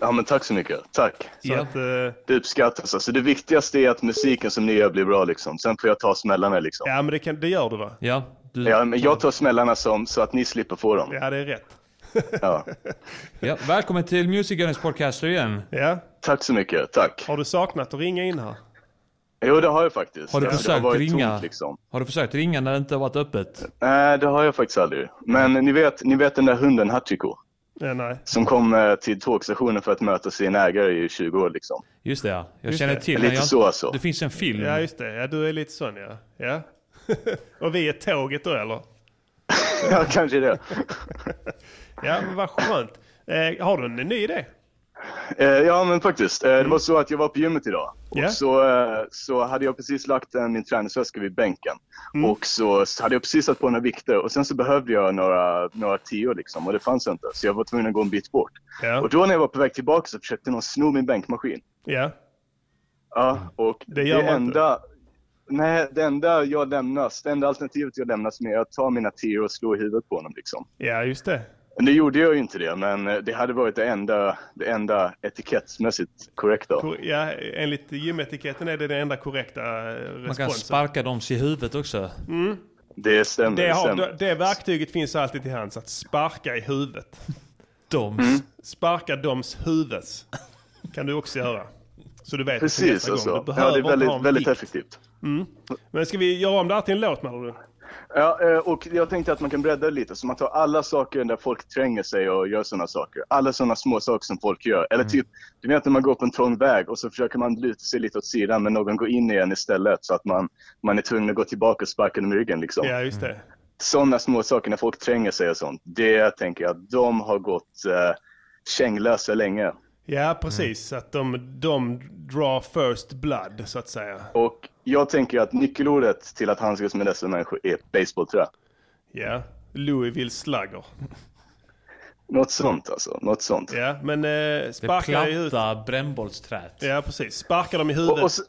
K: Ja, men tack så mycket. Tack.
A: Så att, eh,
K: Det uppskattas. Alltså, det viktigaste är att musiken som ni gör blir bra. Liksom. Sen får jag ta smällarna. Liksom.
A: Ja, men det, kan, det gör du va?
B: Ja,
K: ja, men jag tar smällarna som, så att ni slipper få dem.
A: Ja, det är rätt.
K: Ja.
B: Ja, välkommen till Music Gunners Podcaster igen.
A: Ja.
K: Tack så mycket. Tack.
A: Har du saknat att ringa in här?
K: Jo, det har jag faktiskt.
B: Har du
K: Ja, det
B: försökt
K: varit
B: ringa?
K: Tomt, liksom.
B: Har du försökt ringa när det inte har varit öppet?
K: Nej, det har jag faktiskt aldrig. Men ni vet, ni vet den där hunden Hachiko?
A: Ja, nej.
K: Som kom eh, till tågstationen för att möta sin ägare i 20 år. Liksom.
B: Just det ja. Jag
A: Just
B: känner
A: det.
B: till
K: Lite
B: men jag...
K: så, alltså.
B: Det finns en film.
A: Ja, just det. Ja, du är lite sån ja. ja. [laughs] Och vi är tåget då eller?
K: ja, kanske det.
A: Ja, men vad skönt. Eh, har du en ny idé?
K: Eh, ja, men faktiskt. Eh, det var så att jag var på gymmet idag. Och
A: Ja.
K: så, eh, så hade jag precis lagt eh, min träningsväska vid bänken. Och så hade jag precis satt på några vikter. Och sen så behövde jag några, några tio liksom. Och det fanns inte. Så jag var tvungen att gå en bit bort.
A: Ja.
K: Och då när jag var på väg tillbaka så försökte någon sno min bänkmaskin.
A: Ja.
K: Ja, och
A: Det
K: det,
A: gör man inte.
K: enda... Nej, det enda jag lämnas, det enda alternativet jag lämnas med är att ta mina tio och slå i huvudet på honom liksom.
A: Ja, just det.
K: Nu gjorde jag ju inte det, men eh, det hade varit det enda, det enda etikettsmässigt korrekta.
A: Kor- Ja, enligt gymetiketten är det den enda korrekta eh, responsen.
B: Man kan sparka dem i huvudet också.
K: Det stämmer.
A: det,
K: Det
A: har,
K: stämmer.
A: det verktyget finns alltid till hands, att sparka i huvudet.
B: [laughs] Doms.
K: Mm.
A: Sparka doms huvuds. Kan du också göra. Så du vet att till
K: Precis,
A: nästa gång.
K: alltså.
A: Du
K: Ja,
A: behöver
K: det är
A: inte ha en
K: väldigt, väldigt
A: vikt.
K: effektivt.
A: Men ska vi göra om det här till en låt menar du?
K: Ja, eh, och jag tänkte att man kan bredda det lite, så man tar alla saker där folk tränger sig och gör sådana saker. Alla sådana små saker som folk gör. Eller typ, du vet när man går på en trång väg och så försöker man luta sig lite åt sidan, men någon går in igen istället så att man, man är tvungen att gå tillbaka och sparka dem i ryggen liksom.
A: Ja, just det.
K: Sådana små saker när folk tränger sig och sånt. Det tänker jag, de har gått eh, känglösa länge.
A: Ja, precis. Att de, de drar first blood, så att säga.
K: Och jag tänker att nyckelordet till att handskas med dessa människor är baseballträ.
A: Ja, Louisville Slugger.
K: Något sånt alltså, något sånt.
A: Ja, men eh,
B: Det
A: sparkar i huvudet.
B: platta brännbollsträt.
A: Ja, precis. Sparkar dem i
K: Och,
A: huvudet.
K: och, så,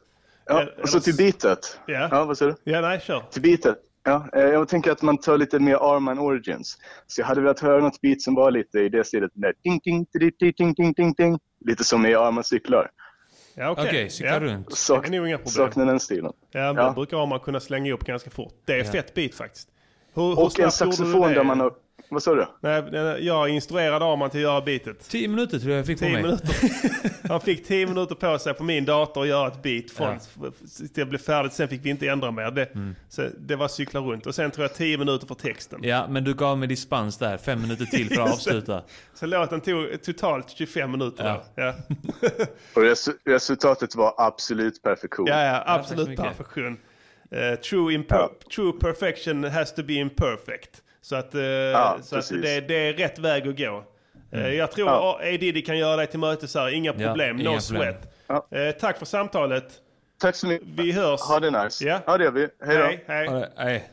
K: ja, och så till bitet.
A: Ja.
K: Ja, vad säger du?
A: Ja, nej, kör.
K: Till bitet. Ja, eh, jag tänker att man tar lite mer Arman Origins. Så jag hade velat höra något beat som var lite i det stilet. Den där ding, ding, ding, ding, ding, ding, ding, ding. Lite som i Arman cyklar.
A: Ja, okej.
B: Okej, cykla
A: ja.
B: runt.
K: Sak-
A: Det är nog inga problem.
K: Saknar den stilen.
A: Ja, men
K: Ja.
A: Då brukar man kunna slänga upp ganska fort. Det är
K: Ja.
A: fett beat faktiskt. Hur, hur
K: Och en
A: snabbt gjorde du
K: saxofon
A: det?
K: där man har... Vad sa du?
A: Nej, nej, jag instruerade Arman till att göra beatet.
B: 10 minuter tror jag jag fick på
A: Tio
B: mig.
A: minuter. Han fick 10 minuter på sig på min dator att göra ett beat från
B: Ja. Mm.
A: f- f- det blev färdigt. Sen fick vi inte ändra mer. Det, så det var cykla runt. Och sen tror jag 10 minuter för texten.
B: [laughs] Ja, men du gav mig dispens där. Fem minuter till
A: [laughs]
B: för att
A: Just det.
B: avsluta.
A: Så låten tog totalt 25 minuter. då.
B: Ja.
A: Ja. [laughs]
K: Och resu- resultatet var absolut perfektion.
A: Ja, ja, absolut perfektion. Eh, true, imper- true perfection has to be imperfect. Så att, eh,
K: Ja,
A: så att
K: precis.
A: det, det är rätt väg att gå. Eh,
K: Mm.
A: jag tror
K: Ja.
A: A. Diddy kan göra dig till mötes här, inga
K: Ja,
A: problem,
K: inga
A: no
K: problem.
A: sweat. Eh, tack för samtalet.
K: Tack så mycket.
A: Vi hörs.
K: Ha det nice.
A: Ja,
K: ja det gör vi. Hej då.
A: Hej, hej.
B: Ja, nej.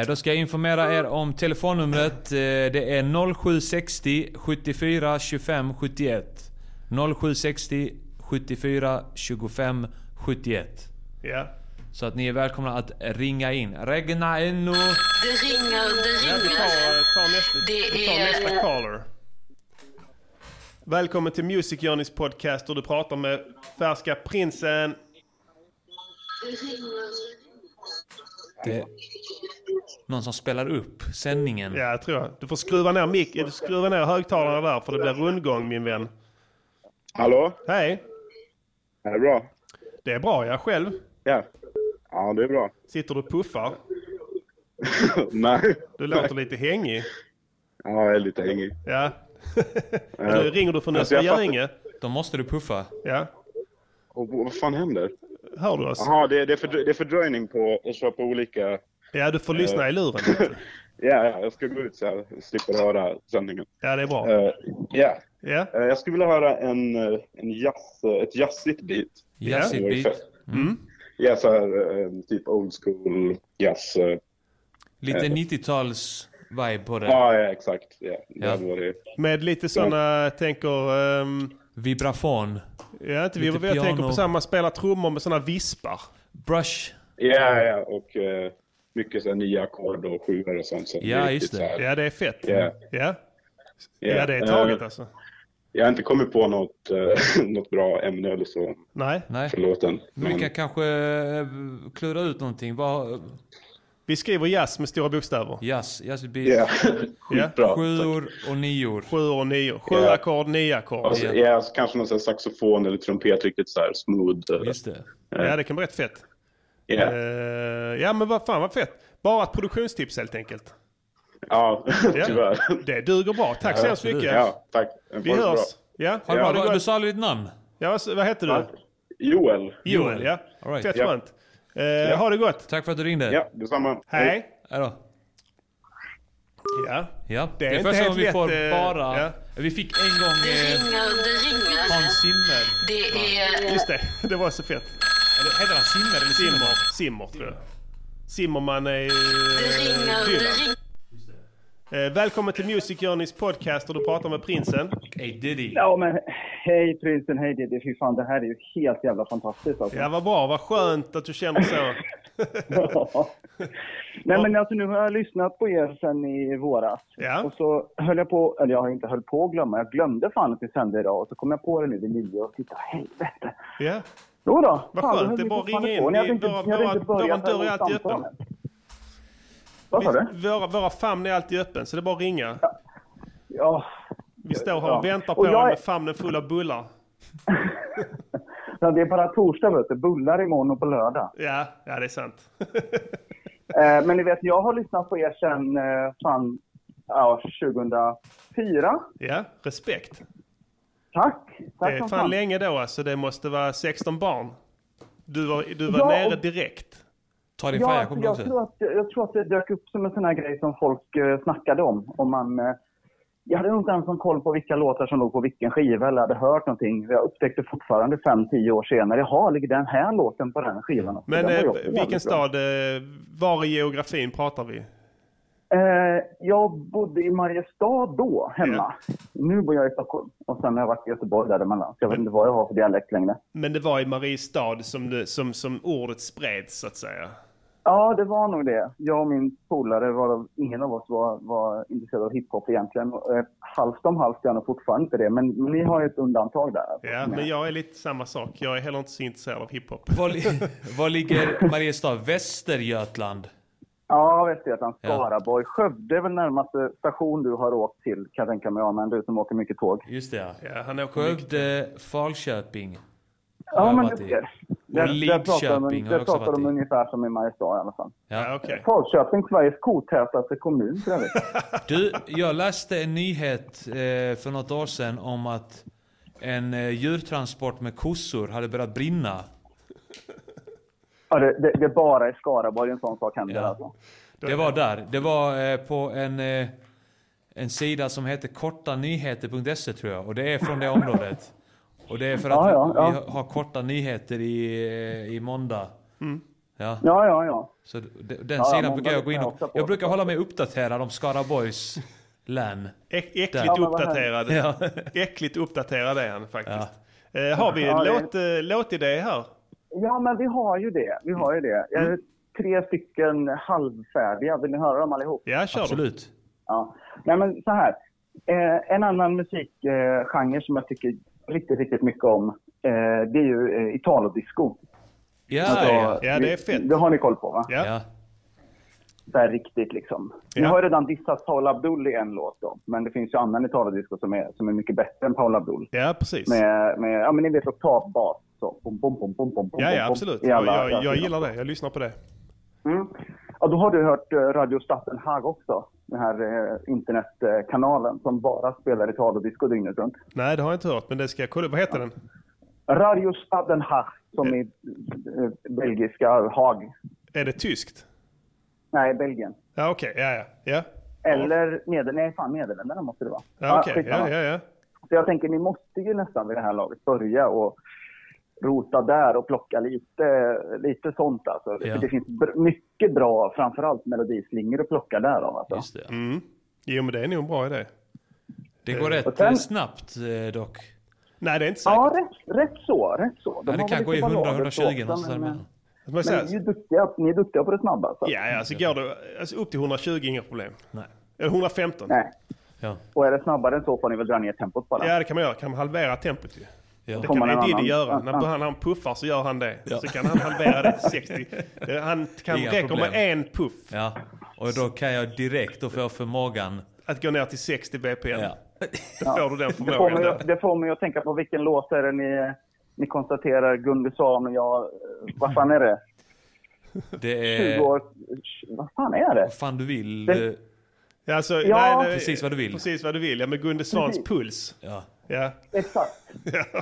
B: Eh, Då ska jag informera er om telefonnumret. Eh, Det är 0760 74 25 71. 0760 74 25 71.
A: Ja.
B: Så att ni är välkomna att ringa in. Regna ännu.
L: Det ringer, det ringer.
A: Vi eh,
L: Det
A: tar nästa
L: är...
A: caller. Välkommen till Music Journeys podcast och du pratar med färska prinsen.
B: Det är någon som spelar upp sändningen.
A: Ja, jag tror jag. Du får skruva ner, mic- skruva ner högtalarna där för det blir rundgång min vän.
M: Hallå?
A: Hej.
M: Är det bra?
A: Det är bra, jag själv.
M: Ja. Ja, det är bra. [laughs]
A: Sitter du och puffar?
M: Nej.
A: Du låter lite hängig.
M: Ja, jag är lite hängig. [laughs]
A: Ja. Du, ringer du från
M: Alltså, jag fattar-
A: Östergöinge?
B: Då måste du puffa.
A: Ja.
M: Och vad fan händer?
A: Hör du oss?
M: Jaha, det, det, är fördrö- det är fördröjning på att köpa olika...
A: Ja, du får lyssna i luren.
M: Ja, ja, jag ska gå ut så jag slipper höra sändningen.
A: Ja, det är bra.
M: Eh, Ja.
A: Ja.
M: Eh, Jag skulle vilja höra en, eh, en jazz, ett jazzigt beat.
B: Ja. Jazzigt Typ beat. Mm.
M: Ja, så här, eh, typ old school jazz. eh.
B: Lite
M: Eh,
B: 90-tals vibe på det.
M: Ja, ja, exakt. Ja,
B: Ja.
M: det hade varit...
A: Med lite sådana, tänker... ehm,
B: Vibrafon.
A: ja, inte vi,
B: Lite
A: jag tänker
B: piano.
A: på samma, spela trummor med sådana vispar.
B: Brush.
M: Ja, ja, och eh, mycket så här nya ackord och sjuor och sånt. Så
A: Ja,
M: riktigt
A: just
M: så här-
A: det. Ja, det är fett.
M: Ja.
A: Ja.
M: Ja.
A: Ja, det är taget
M: Eh,
A: alltså.
M: Jag har inte kommit på något, eh, [laughs] något bra ämne eller så
A: Nej.
B: Nej.
M: för låten.
B: Men vi
M: Men,
K: Mm.
B: kan kanske eh, klura ut någonting. Vad...
A: Vi skriver jazz med stora bokstäver.
B: Jazz. Jazz beat.
M: Ja.
A: Ja.
M: Skitbra, tack.
B: Sjuor och nior.
A: Sjuor och nior. Sju
M: Ja.
A: ackord, nio ackord.
M: alltså, ja. så kanske någon sån här saxofon eller trumpet riktigt så här smooth.
B: Just det.
A: Ja, det kan bli rätt fett.
M: Ja.
A: Eh, ja, men vad fan vad fett. Bara ett produktionstips helt enkelt.
M: Ja, [laughs]
A: Ja.
M: tyvärr.
A: Det duger bra. Tack så hemskt mycket.
M: Ja, tack.
A: Vi
M: Ha det
A: hörs.
M: bra.
A: Ja.
B: Har du,
A: Ja,
B: bra-
A: det går-
B: du sa aldrig ditt namn?
A: Ja, vad, vad heter du?
M: Joel.
A: Joel, ja.
B: All right.
A: Fett
B: Ja.
A: skönt. Eh, Ha det gott.
B: Tack för att du ringde.
M: Ja, detsamma.
A: Hej.
B: Hej då.
A: Ja.
B: Ja,
A: Det
B: det
A: är
B: är,
A: inte
B: första
A: helt
B: gången vi
A: lätt,
B: får
A: eh,
B: bara...
A: ja.
B: Vi fick en gång
L: Det
B: eh,
L: ringer, det ringer.
B: Hans Zimmer.
L: Det är...
A: Just det, [laughs] det var så fett.
B: Eller heter han Zimmer eller Zimmer?
A: Simmer, Simmer tror jag. Simmerman är ju
L: ringer, det
A: Dylan. Eh, välkommen till Music Journeys podcast och du pratar med prinsen.
B: Hey Diddy.
N: Ja men hej prinsen, hej Diddy. Fy fan det här är ju helt jävla fantastiskt alltså.
A: Ja, vad bra. Vad skönt att du känner så.
N: Nej men alltså nu har jag lyssnat på er sen i våras. Och så höll jag på, eller jag har inte höll på att glömma, jag glömde fan att ni sände idag. Och så kom jag på det nu vid nio och titta helvete.
A: Ja.
N: Jo då,
A: Vad
N: fan, då
A: skönt,
N: höll
A: det är
N: vi
A: bara att
N: fortfarande
A: ringa
N: på.
A: in.
N: Ni hade
A: Vi-
N: inte-
A: våra-
N: ni hade inte
A: våra-
N: börjat
A: våran dörr är
N: själva
A: alltid öppen.
N: samtalet. Vad sa du?
A: Vi- Våra, våra famn är alltid öppen, så det är bara att ringa.
N: Ja.
A: Vi står här
N: Ja.
A: och väntar på
N: Och jag
A: dig
N: är-
A: med famnen full av bullar.
N: Ja, det är bara torsdag vet du, bullar imorgon och på lördag.
A: Ja, ja det är sant.
N: Eh, men ni vet, jag har lyssnat på er sedan eh, fan, ja, 2004.
A: Ja, respekt.
N: Tack! Tack
A: Det är
N: som
A: fan
N: fan.
A: länge då alltså. Det måste vara 16 barn. Du var, du var
N: Ja,
A: nere
N: och-
A: direkt.
B: Ta
N: Ja, alltså, jag, tror att, jag tror att det dök upp som en sån här grej som folk eh, snackade om. om man, eh, jag hade nog inte ens någon koll på vilka låtar som låg på vilken skiva eller hade hört någonting. Jag upptäckte fortfarande 5-10 år senare, jaha, ligger den här låten på den skivan? också?
A: Men
N: Den var ju
A: eh,
N: också jävligt bra.
A: vilken stad, eh, var i geografin pratar vi?
N: Eh, jag bodde i Mariestad då, hemma. Nu bor jag i Stockholm. Och sen har jag varit i Göteborg däremellan. Så jag vet inte vad jag har för dialekt längre.
A: Men det var i Mariestad som, det, som, som ordet spreds så att säga.
N: Ja, det var nog det. Jag och min polare, varav ingen av oss var, var intresserad av hiphop egentligen. Eh, Halvt om halvt är jag nog fortfarande inte det, men ni har ju ett undantag där.
A: Ja, men jag är lite samma sak. Jag är heller inte så intresserad av hiphop.
B: Var, li- [laughs] var ligger Mariestad? Västergötland?
N: Ja, Västergötland,
B: Ja.
N: Skaraborg. Skövde är väl närmaste station du har åkt till, kan jag tänka mig, men du som åker mycket tåg.
B: Just det, ja.
A: ja han åker
B: Skövde, Falköping.
N: Ja,
B: har jag
N: men
B: varit
N: det-
B: i.
N: det-
B: Och
N: Där, där pratar de,
B: Lidköping har
N: där
B: jag också
N: pratar
B: varit
N: de
B: i.
N: ungefär som i Mariestad i alla fall.
B: Ja.
N: Falköping, Sveriges kotätaste kommun för övrigt.
B: Du, jag läste en nyhet eh, för något år sedan om att en eh, djurtransport med kossor hade börjat brinna.
N: Ja, det, det, det är bara i Skaraborg en sån sak händer
B: Ja.
N: alltså.
B: Det var där. Det var eh, på en, eh, en sida som heter kortanyheter.se tror jag. Och det är från det området. Och det är för att
N: Ja, ja, ja.
B: vi har korta nyheter i, eh, i måndag.
N: Mm.
B: Ja.
N: Ja, ja, ja.
B: Så d- d- den
N: Ja,
B: sidan
N: måndag
B: brukar jag gå in
N: lyssnar jag också
B: och...
N: på.
B: Jag brukar hålla mig uppdaterad om Skaraborgs län.
A: [laughs] Äck,
B: Där.
A: äckligt, uppdaterad.
B: Ja.
A: äckligt uppdaterad är han faktiskt. Eh, har vi
N: Ja, det-
A: låt, eh, låtidé här?
N: Ja, men vi har ju det. Vi har ju det. Eh, Jag har Tre stycken halvfärdiga. Vill ni höra dem allihop?
A: Ja, kör
B: Absolut.
N: Ja. Nej, men så här. Eh, en annan musikgenre eh, genre som jag tycker riktigt, riktigt mycket om, eh, det är ju eh, italodisco.
B: Ja,
N: Alltså,
B: ja.
N: ni- Det har ni koll på, va?
B: Ja.
N: Så här riktigt liksom. Ni
B: Ja.
N: har ju redan dissat Paula Abdul i en låt då, men det finns ju annan italodisco som är, som är mycket bättre än Paula Abdul.
A: Ja, precis.
N: Med, med, ja men ni vet oktavbas. Så, bom, bom, bom, bom, bom, bom,
A: Ja, ja,
N: bom,
A: absolut.
N: i alla-
A: jag, jag,
N: alla-
A: jag gillar det. Jag lyssnar på det.
N: Mm. Ja, då har du hört eh, Radio Staffelhag också. Den här eh, internetkanalen som bara spelar italodisco dygnet runt.
A: Nej, det har jag inte hört, men det ska jag kolla. Vad heter den?
N: Radio Staffelhag, som är eh, belgiska Haag.
A: Är det tyskt?
N: Nej, Belgien.
A: Ja, okej. Ja, ja. ja.
N: Eller Neder... Nej, fan Nederländerna måste det vara. Ah,
A: Ja, okej.
N: skitsamma.
A: Ja, ja, ja.
N: Så jag tänker, ni måste ju nästan vid det här laget börja och rota där och plocka lite, lite sånt alltså.
A: Ja.
N: För det finns br- mycket bra, framförallt melodislingor att plocka där av alltså.
B: Just det.
A: Mm. Jo, men det är nog en bra idé.
B: Det
A: Eh,
B: går rätt
A: och sen-
B: eh, snabbt eh, dock.
A: Nej, det är inte säkert.
N: Ja, rätt, rätt så. Rätt så.
B: Ja, det
N: har
B: kan
N: väl
B: gå i
N: lite
B: 100,
N: ballader
B: 120
N: på
B: någonstans
N: också, men,
B: däremellan.
A: Men
N: Men ni, är duktiga, ni är duktiga på det snabba. Så.
A: Ja, ja, alltså går det alltså, upp till 120 inga problem.
B: Nej.
A: Eller 115.
N: Nej.
B: Ja.
N: Och är det snabbare än så får ni väl dra ner tempot bara.
A: Ja, det kan man göra. Kan man halvera tempot ju. Det
N: Får
A: kan
N: man en
A: Eddie
N: annan-
A: göra.
N: annan-
A: När han, han puffar så gör han det.
B: Ja.
A: Så kan han halvera det till 60.
B: [laughs]
A: Eh, Han kan
B: Inga
A: räcker
B: problem.
A: med en puff
B: Ja. Och då kan jag direkt, då får jag förmågan.
A: att gå ner till 60 BPM.
B: Ja.
A: Då får du den
N: Det får,
A: förmågan
N: mig,
A: där.
N: att- det får mig att tänka på vilken låt är det ni, ni konstaterar Gunde sa, men jag... eh, Vad fan är det?
B: Det
N: 20
B: är...
N: år... Vad fan är det?
B: Vad fan du vill.
N: Det-
B: eh,
A: Ja, alltså,
N: Ja.
A: det-
B: Precis vad du vill.
A: Precis vad du vill. Ja, med Gunde Svans
N: Precis.
A: puls.
B: Ja.
A: Ja.
N: Exakt.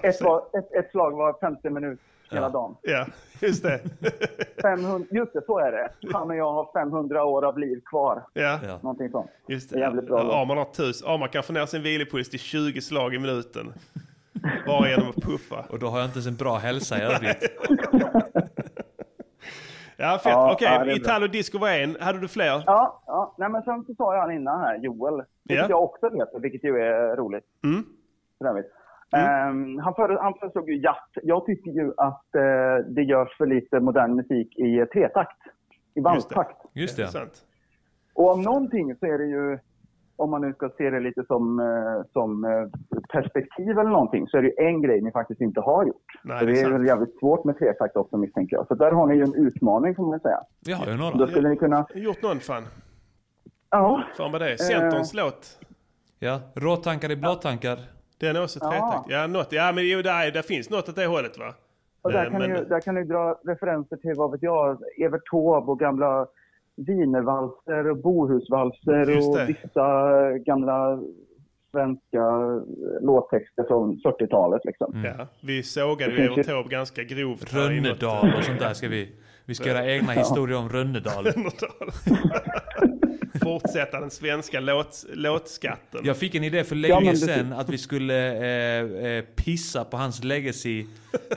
N: Ett, var, ett, ett slag var 50 minut hela dagen.
A: ja, just det.
N: [laughs] 500, just det, så är det. Han och jag har 500 år av liv kvar.
A: Ja.
N: Någonting sånt.
A: Just
N: Det är
A: det.
N: jävligt bra
A: Ja, Arman har tusen. Arman kan få ner sin vilopuls till 20 slag i minuten. Bara genom att puffa.
B: Och då har jag inte ens en bra hälsa i övrigt.
A: Ja, fett.
N: Ja,
A: Okej,
N: ja, det är bra.
A: Italo Disco var en. Hade du fler?
N: Ja, ja. Nej, men sen så sa jag han innan här, Joel, vilket
A: Ja.
N: jag också vet, vilket ju är roligt.
A: Mm.
N: För övrigt. Ehm, han, före, han föreslog ju jazz. Jag tycker ju att eh, det görs för lite modern musik i eh, tretakt. I bandtakt.
B: Just det.
N: Och om någonting så är det ju, om man nu ska se det lite som, eh, som eh, perspektiv eller någonting, så är det ju en grej ni faktiskt inte har gjort.
A: Nej,
N: Så
A: det är
N: det är
A: sant.
N: väl jävligt svårt med tretakt också misstänker jag. Så där har ni ju en utmaning får man säga.
B: Vi har ju
N: Då
B: några.
N: skulle ni kunna...
A: Gjort någon fan.
N: Ja. Eh.
A: Fan vad det är. Centerns låt.
B: Ja. Råtankar i blåtankar.
A: Den är också tretakt. Ja, något. Ja, men jo, där, där finns något åt det hållet va?
N: Och där
A: Eh,
N: kan,
A: men-
N: ju, där kan du dra referenser till, vad vet jag, Evert Taube och gamla wienervalser och bohusvalser
A: Just
N: och
A: det.
N: vissa gamla svenska låttexter från 40-talet. Liksom.
A: Ja, vi sågade ju
N: Det finns
A: Evert Taube ganska grovt. här i något-
B: Rönnedal och sånt där ska vi... Vi ska göra egna historier om
A: [laughs]
B: Rönnedal.
A: Rönnedal. [laughs] Fortsätta den svenska låt, låtskatten.
B: Jag fick en idé för
A: Ja, men
B: länge
A: precis.
B: sedan att vi skulle eh, eh, pissa på hans legacy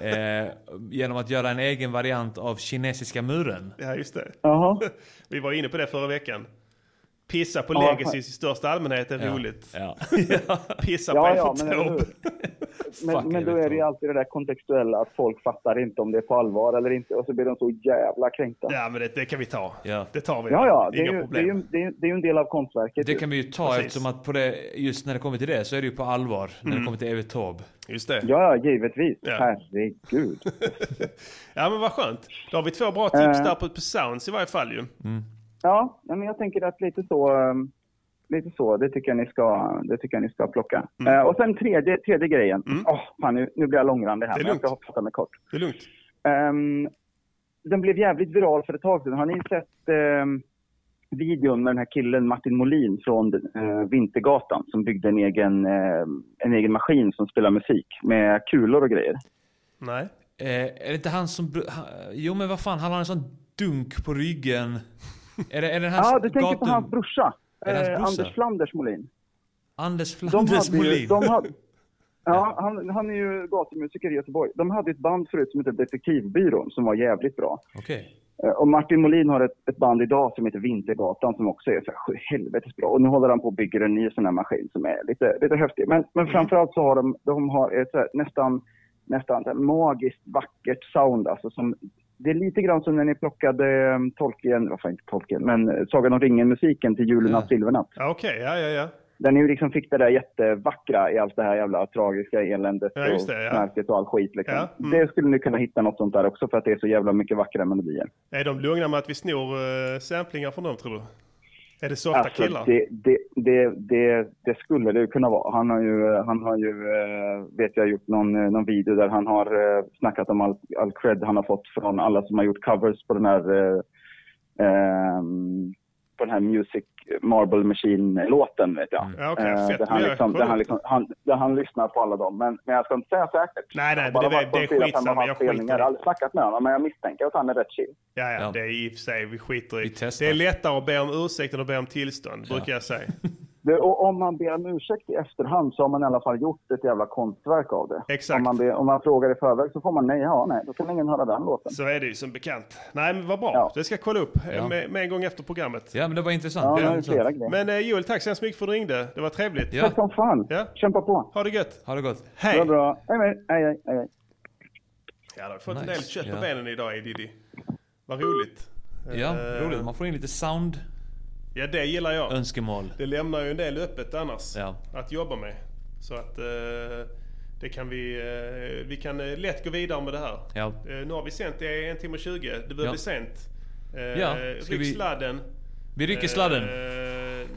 B: eh, genom att göra en egen variant av kinesiska muren.
A: Ja, just det.
N: Jaha.
A: [laughs] Vi var inne på det förra veckan. Pissa på
B: Ja,
A: [laughs] legacies i största allmänhet är roligt. Pissa på
N: Ja,
A: Evert
N: ja, men eller
A: Taube.
N: Men, men då är det ju alltid det där kontextuella att folk fattar inte om det är på allvar eller inte och så blir de så jävla kränkta.
A: [laughs] Ja, men det, det kan vi ta. Det tar vi.
N: Ja, ja, det är,
A: Inga
N: ju, det, är
A: problem.
N: ju, det, är, ju- det är ju en del av konstverket.
B: Det
N: ju.
B: kan vi ju ta eftersom att på det, just när det kommer till det så är det ju på allvar. När det
N: Mm.
B: kommer till Evert Taube.
A: Just det.
N: Ja, ja, givetvis.
A: Ja.
N: Herregud.
A: [laughs] Ja, men vad skönt. Då har vi två bra tips
N: Eh.
A: där på, på Sounds i varje fall ju.
N: Ja, nej, men jag tänker att lite så, ehm, lite så, det tycker jag ni ska, det tycker jag ni ska plocka.
A: Mm.
N: Eh, och sen tredje, tredje grejen. Åh, fan, nu, nu blir jag långrandig här,
A: Det är
N: men jag
A: lugnt.
N: ska fatta mig kort.
A: Det är lugnt.
N: Ehm, den blev jävligt viral för ett tag sedan. Har ni sett ehm, videon med den här killen Martin Molin från eh, Vintergatan som byggde en egen, ehm, en egen maskin som spelar musik med kulor och grejer?
A: Nej.
B: Eh, är det inte han som... br- Han, jo men vad fan, han har en sån dunk på ryggen. Är det, är det hans
N: Ja, du tänker på
B: gatu-
N: hans brorsa.
B: Är det hans
N: Eh,
B: brorsa?
N: Anders Flanders Molin.
B: Anders
N: De
B: Flanders
N: hade ju,
B: Molin.
N: de hade, ja, han, han är ju gatumusiker i Göteborg. De hade ett band förut som hette Detektivbyrån som var jävligt bra.
B: Okej.
N: Eh, Och Martin Molin har ett, ett band idag som heter Vintergatan som också är så här, sju helvetes bra. Och nu håller han på och bygger en ny sån här maskin som är lite, lite häftig. Men, men framförallt så har de, de har ett så här, nästan, nästan så här, magiskt vackert sound. Alltså, som, det är lite grann som när ni plockade eh, Tolkien, vad fan inte Tolkien, men eh, Sagan om ringen-musiken till Julen av Silvernatt.
A: Ja, Okej, ja, ja, ja.
N: Där ni liksom fick det där jättevackra i allt det här jävla tragiska eländet
A: Ja,
N: och
A: just det, ja.
N: knarket och all skit. Liksom.
A: Ja, mm.
N: Det skulle ni kunna hitta något sånt där också för att det är så jävla mycket vackrare melodier.
A: Är de lugna med att vi snor eh, samplingar från dem tror du? Är det softa killar?
N: Alltså, det, det, det, det, det skulle det ju kunna vara. Han har ju, han har ju eh, vet jag, gjort någon, eh, någon video där han har eh, snackat om all, all cred han har fått från alla som har gjort covers på den här eh, ehm, på den här Music Marble Machine-låten, vet jag.
A: Mm. Ja, okej,
N: Eh,
A: fett.
N: där han,
A: Men jag
N: liksom,
A: kollar
N: där han,
A: upp.
N: liksom, han, där han lyssnar på alla dem. Men, men jag ska inte säga säkert.
A: Nej, nej,
N: Bara
A: men det,
N: varit på
A: det, det
N: fyra,
A: är
N: fem av
A: skitsamma.
N: hans
A: Jag
N: spelningar.
A: skiter
N: Jag
A: i
N: har aldrig snackat med honom, men jag misstänker att han är rätt chill.
A: Ja, ja, det är i och för sig, vi skiter i. Det är lättare att be om ursäkt än att be om tillstånd, brukar jag säga.
N: Det, och om man ber om ursäkt i efterhand så har man i alla fall gjort ett jävla konstverk av det.
A: Exakt.
N: Om man, ber, om man frågar i förväg så får man nej, ja, nej. Då kan ingen höra den låten.
A: Så är det ju som bekant. Nej, men vad bra. Det ska jag kolla upp eh,
N: Ja.
A: med, med en gång efter programmet.
B: Ja, men det var intressant.
N: Ja, det var flera grejer.
A: Men eh, Joel, tack så hemskt mycket för att du ringde. Det var trevligt.
N: Tack som fan. Kämpa på.
A: Ha det gött.
B: Ha det gott.
A: Hej.
N: Det var bra. Hej, hej, hej, hej, hej.
A: Ja, du har fått en
B: Nice.
A: del kött på
B: Ja.
A: benen idag, eh, Diddy. Vad roligt.
B: Ja,
A: Eh,
B: roligt. Man får in lite sound.
A: Ja, det gillar jag.
B: Önskemål.
A: Det lämnar ju en del öppet annars
B: Ja.
A: att jobba med. Så att eh, det kan vi, eh, vi kan eh, lätt gå vidare med det här.
B: Ja.
A: Eh, nu har vi sänt det i en timme och tjugo. Det börjar
B: Ja.
A: bli sent. Eh,
B: Ja, ska
A: ryck
B: vi-
A: sladden.
B: Vi rycker
A: Eh,
B: sladden.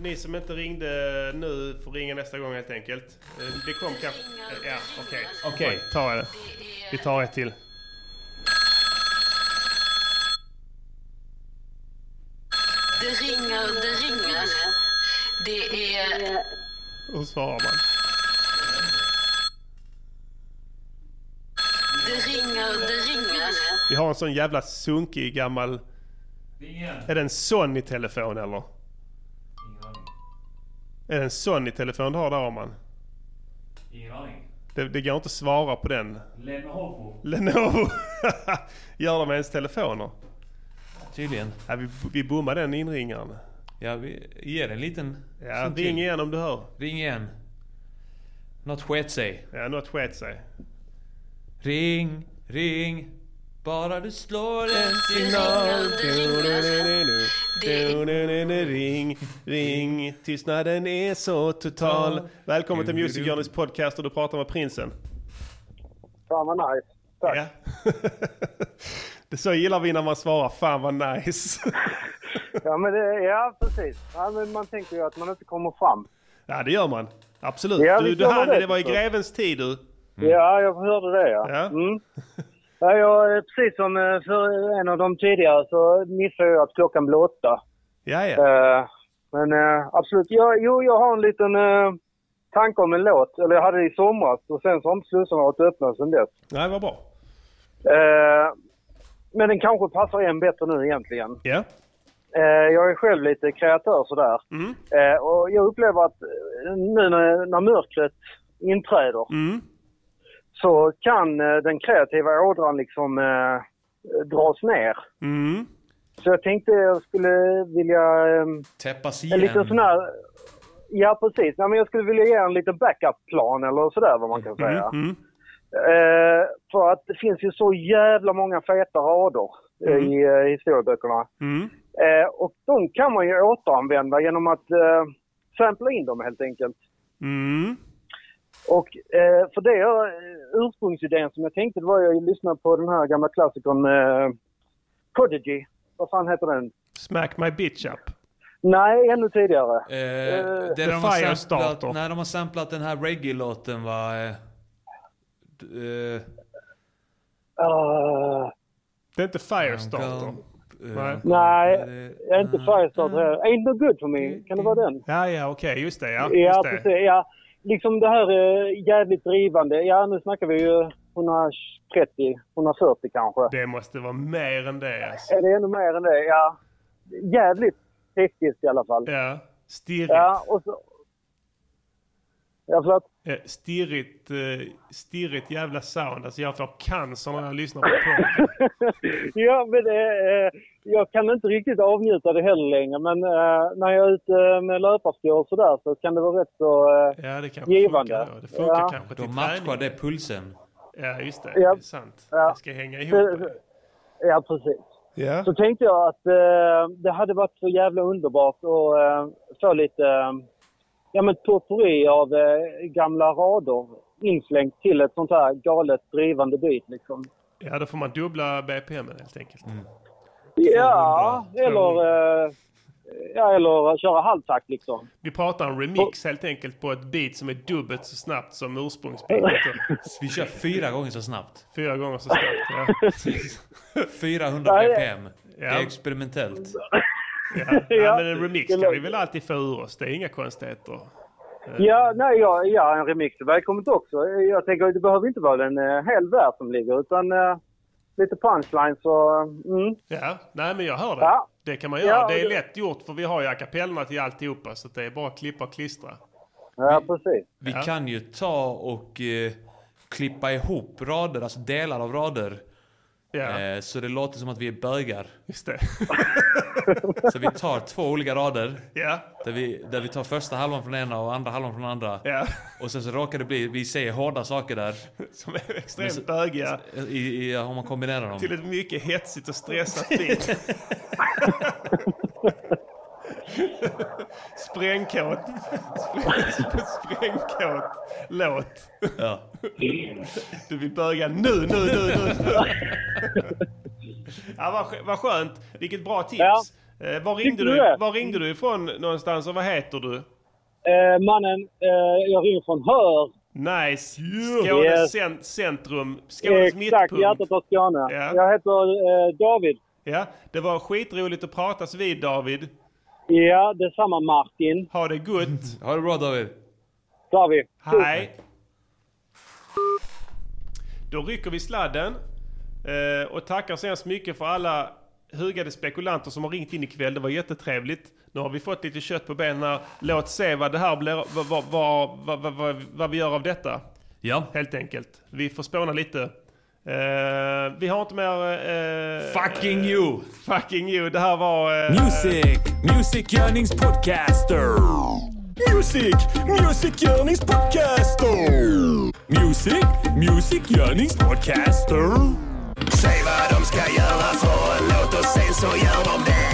A: ni som inte ringde nu får ringa nästa gång helt enkelt. Eh, det kom kanske... eh, ja, okej.
C: Okej,
A: Oj, ta det. Vi tar ett till.
L: Det ringer, det ringer. Det är...
A: Och svarar man.
L: Det ringer, det ringer.
A: Vi har en sån jävla sunkig gammal... Är det en Sony-telefon eller? Är det en Sony-telefon du har där man?
B: Ingen aning.
A: Det, det går inte att svara på den.
B: Lenovo.
A: Lenovo. [laughs] Gör de ens telefoner?
B: Tydligen.
A: Ja, vi, vi bommar den inringaren.
B: Ja, vi ger en liten...
A: Ja,
B: sån
A: ring
B: till.
A: igen om du hör.
B: Ring igen. Något sket sig.
A: Ja, något sket sig.
B: Ring, ring. Bara du slår en
C: signal.
B: signal.
A: Ring, ring. Tystnaden är så total. Välkommen till Music Journeys podcast och du pratar med prinsen.
O: Fan vad nice. Tack.
A: Ja. [laughs] Det så gillar vi när man svarar fan vad nice. [laughs]
O: Ja, men det, ja precis. Ja, men man tänker ju att man inte kommer fram.
A: Ja det gör man. Absolut.
O: Ja,
A: du,
O: visst
A: du
O: gör man
A: hann,
O: det,
A: det
O: liksom.
A: var i
O: förstås.
A: grevens tid du.
O: Ja, jag hörde det ja.
A: Ja.
O: Mm. ja jag, eh, precis som eh, för en av de tidigare så missade jag att klockan blev åtta.
A: Ja, ja.
O: Eh, Men eh, absolut, jag, jo jag har en liten eh, tanke om en låt. Eller jag hade det i somras och sen så har inte slussarna varit öppna sedan dess.
A: Nej, vad bra.
O: Eh, Men den kanske passar en bättre nu egentligen.
A: Ja.
O: Eh, Jag är själv lite kreatör sådär.
A: Mm.
O: Eh, Och jag upplever att eh, nu när, när mörkret inträder så kan eh, den kreativa ådran liksom eh, dras ner.
A: Mm.
O: Så jag tänkte jag skulle vilja... ehm,
B: Täppas
O: en
B: igen.
O: liten sån här... ja, precis. Nej, men jag skulle vilja ge en liten backup-plan eller sådär vad man kan säga. Eh, för att det finns ju så jävla många feta rader eh,
L: Mm.
O: i eh, historieböckerna. Eh, och de kan man ju återanvända genom att eh, sampla in dem helt enkelt.
A: Mm.
O: Och eh, för det jag, eh, ursprungsidén som jag tänkte det var jag lyssnade på den här gamla klassikern eh, Prodigy. Vad fan heter den?
A: Smack my bitch up.
O: Nej, ännu tidigare.
B: Eh,
O: Eh,
B: där
O: The
B: de har
O: Firestarter.
B: samplat- Nej, de har samplat den här reggae-låten va? Eh, d- eh,
O: Ah,
A: Det är inte Firestarter.
B: eh,
A: Nej.
O: Nej, jag är inte
A: eh,
O: Firestarter heller. Ain't no good for me. Kan det vara den?
A: Ja, ja, okej, just det. mm. Ja,
O: Ja,
A: just det.
O: precis. Ja. Liksom det här eh, jävligt drivande. Ja, nu snackar vi ju 130, 140 kanske.
A: Det måste vara mer än det. Alltså.
O: Är det ännu mer än det? Ja. Jävligt tekniskt i alla fall.
A: Ja, stirrigt.
O: Ja, och så... Ja, förlåt?
A: Eh, Stirrigt, eh, stirrigt jävla sound. Alltså jag får cancer när jag lyssnar på
O: [laughs]
A: porr.
O: ja, men eh, eh, jag kan inte riktigt avnjuta det heller längre. Men eh, när jag är ute med löparskor och sådär så kan det vara rätt så eh,
A: Ja, det kanske
O: givande.
A: funkar. Det funkar
O: ja.
A: kanske
B: Då
A: till
B: matchar det pulsen.
A: Ja, just det.
O: Ja.
A: Det är sant.
O: Ja.
A: Det ska hänga ihop.
O: Så- Ja, precis.
A: Ja.
O: Så tänkte jag att eh, det hade varit så jävla underbart att eh, få lite eh, ja, men potpourri av eh, gamla rader inflängt till ett sånt här galet drivande beat. Liksom.
A: Ja, då får man dubbla BPM helt enkelt.
B: Mm.
O: Ja, eller, eh, ja, eller köra halvtakt liksom.
A: Vi pratar en remix helt enkelt på ett beat som är dubbelt så snabbt som
O: [laughs]
A: ursprungsbeatet.
B: Vi kör fyra gånger så snabbt.
A: Fyra gånger så
O: [laughs]
A: snabbt, ja.
B: 400
A: Ja, det-
B: ppm. Det
A: Ja.
B: är experimentellt.
A: Ja. ja, men en remix kan vi väl alltid få ur oss. Det är inga konstigheter.
O: Ja, nej, ja, ja, en remix är välkommet också. Jag tänker att det behöver inte vara en eh, hel värld som ligger utan eh, lite punchlines och... Mm.
A: Ja, nej men jag hör det.
O: Ja.
A: Det kan man göra.
O: Ja, och
A: det är
O: det-
A: lätt gjort för vi har ju a cappellorna till alltihopa så det är bara att klippa och klistra.
O: Ja, precis.
B: Vi kan ju ta och eh, klippa ihop rader, alltså delar av rader. Eh, så det låter som att vi är bögar.
A: Just det. [laughs]
B: så vi tar två olika rader.
A: Ja.
B: Där, vi, där vi tar första halvan från ena och andra halvan från andra.
A: Ja.
B: Och sen så råkar det bli, vi säger hårda saker där.
A: Som är
B: Men
A: extremt
B: så-
A: bögiga.
B: I, i, om man kombinerar dem.
A: Till ett mycket hetsigt och stressat beat. Sprängkåt. Spr- Sprängkåt låt.
B: Ja.
A: Du vill börja nu, nu, nu, nu. ja, vad, skö- vad skönt. Vilket bra tips.
O: Ja.
A: Eh, var,
O: Tycker
A: ringde
O: du
A: du,
O: det?
A: var ringde du ifrån någonstans och vad heter du?
O: Eh, mannen, eh, jag ringer från Hör.
A: Nice. Skånes
O: Yes.
A: cent- centrum. Skånes
O: Exakt,
A: mittpunkt.
O: hjärtat av Skåne. Jag heter eh, David.
A: Ja, det var skitroligt att pratas vid David.
O: Ja, detsamma Martin.
A: Ha det gott.
B: Ha det bra David.
O: David.
A: Hej. Då rycker vi sladden eh, och tackar så hemskt mycket för alla hugade spekulanter som har ringt in ikväll. Det var jättetrevligt. Nu har vi fått lite kött på benen. Låt se vad det här blir, vad, vad, vad, vad, vad, vad, vad vi gör av detta.
B: Ja.
A: Helt enkelt. Vi får spåna lite. Eh, vi har inte mer... eh,
B: Fucking you!
A: Fucking you. Det här var... eh,
C: Music, Music Yearnings Podcaster. Music, Music Yearnings Podcaster. Music, Music Yearnings Podcaster.
P: Säg vad de ska göra för en låt och sen så gör de det.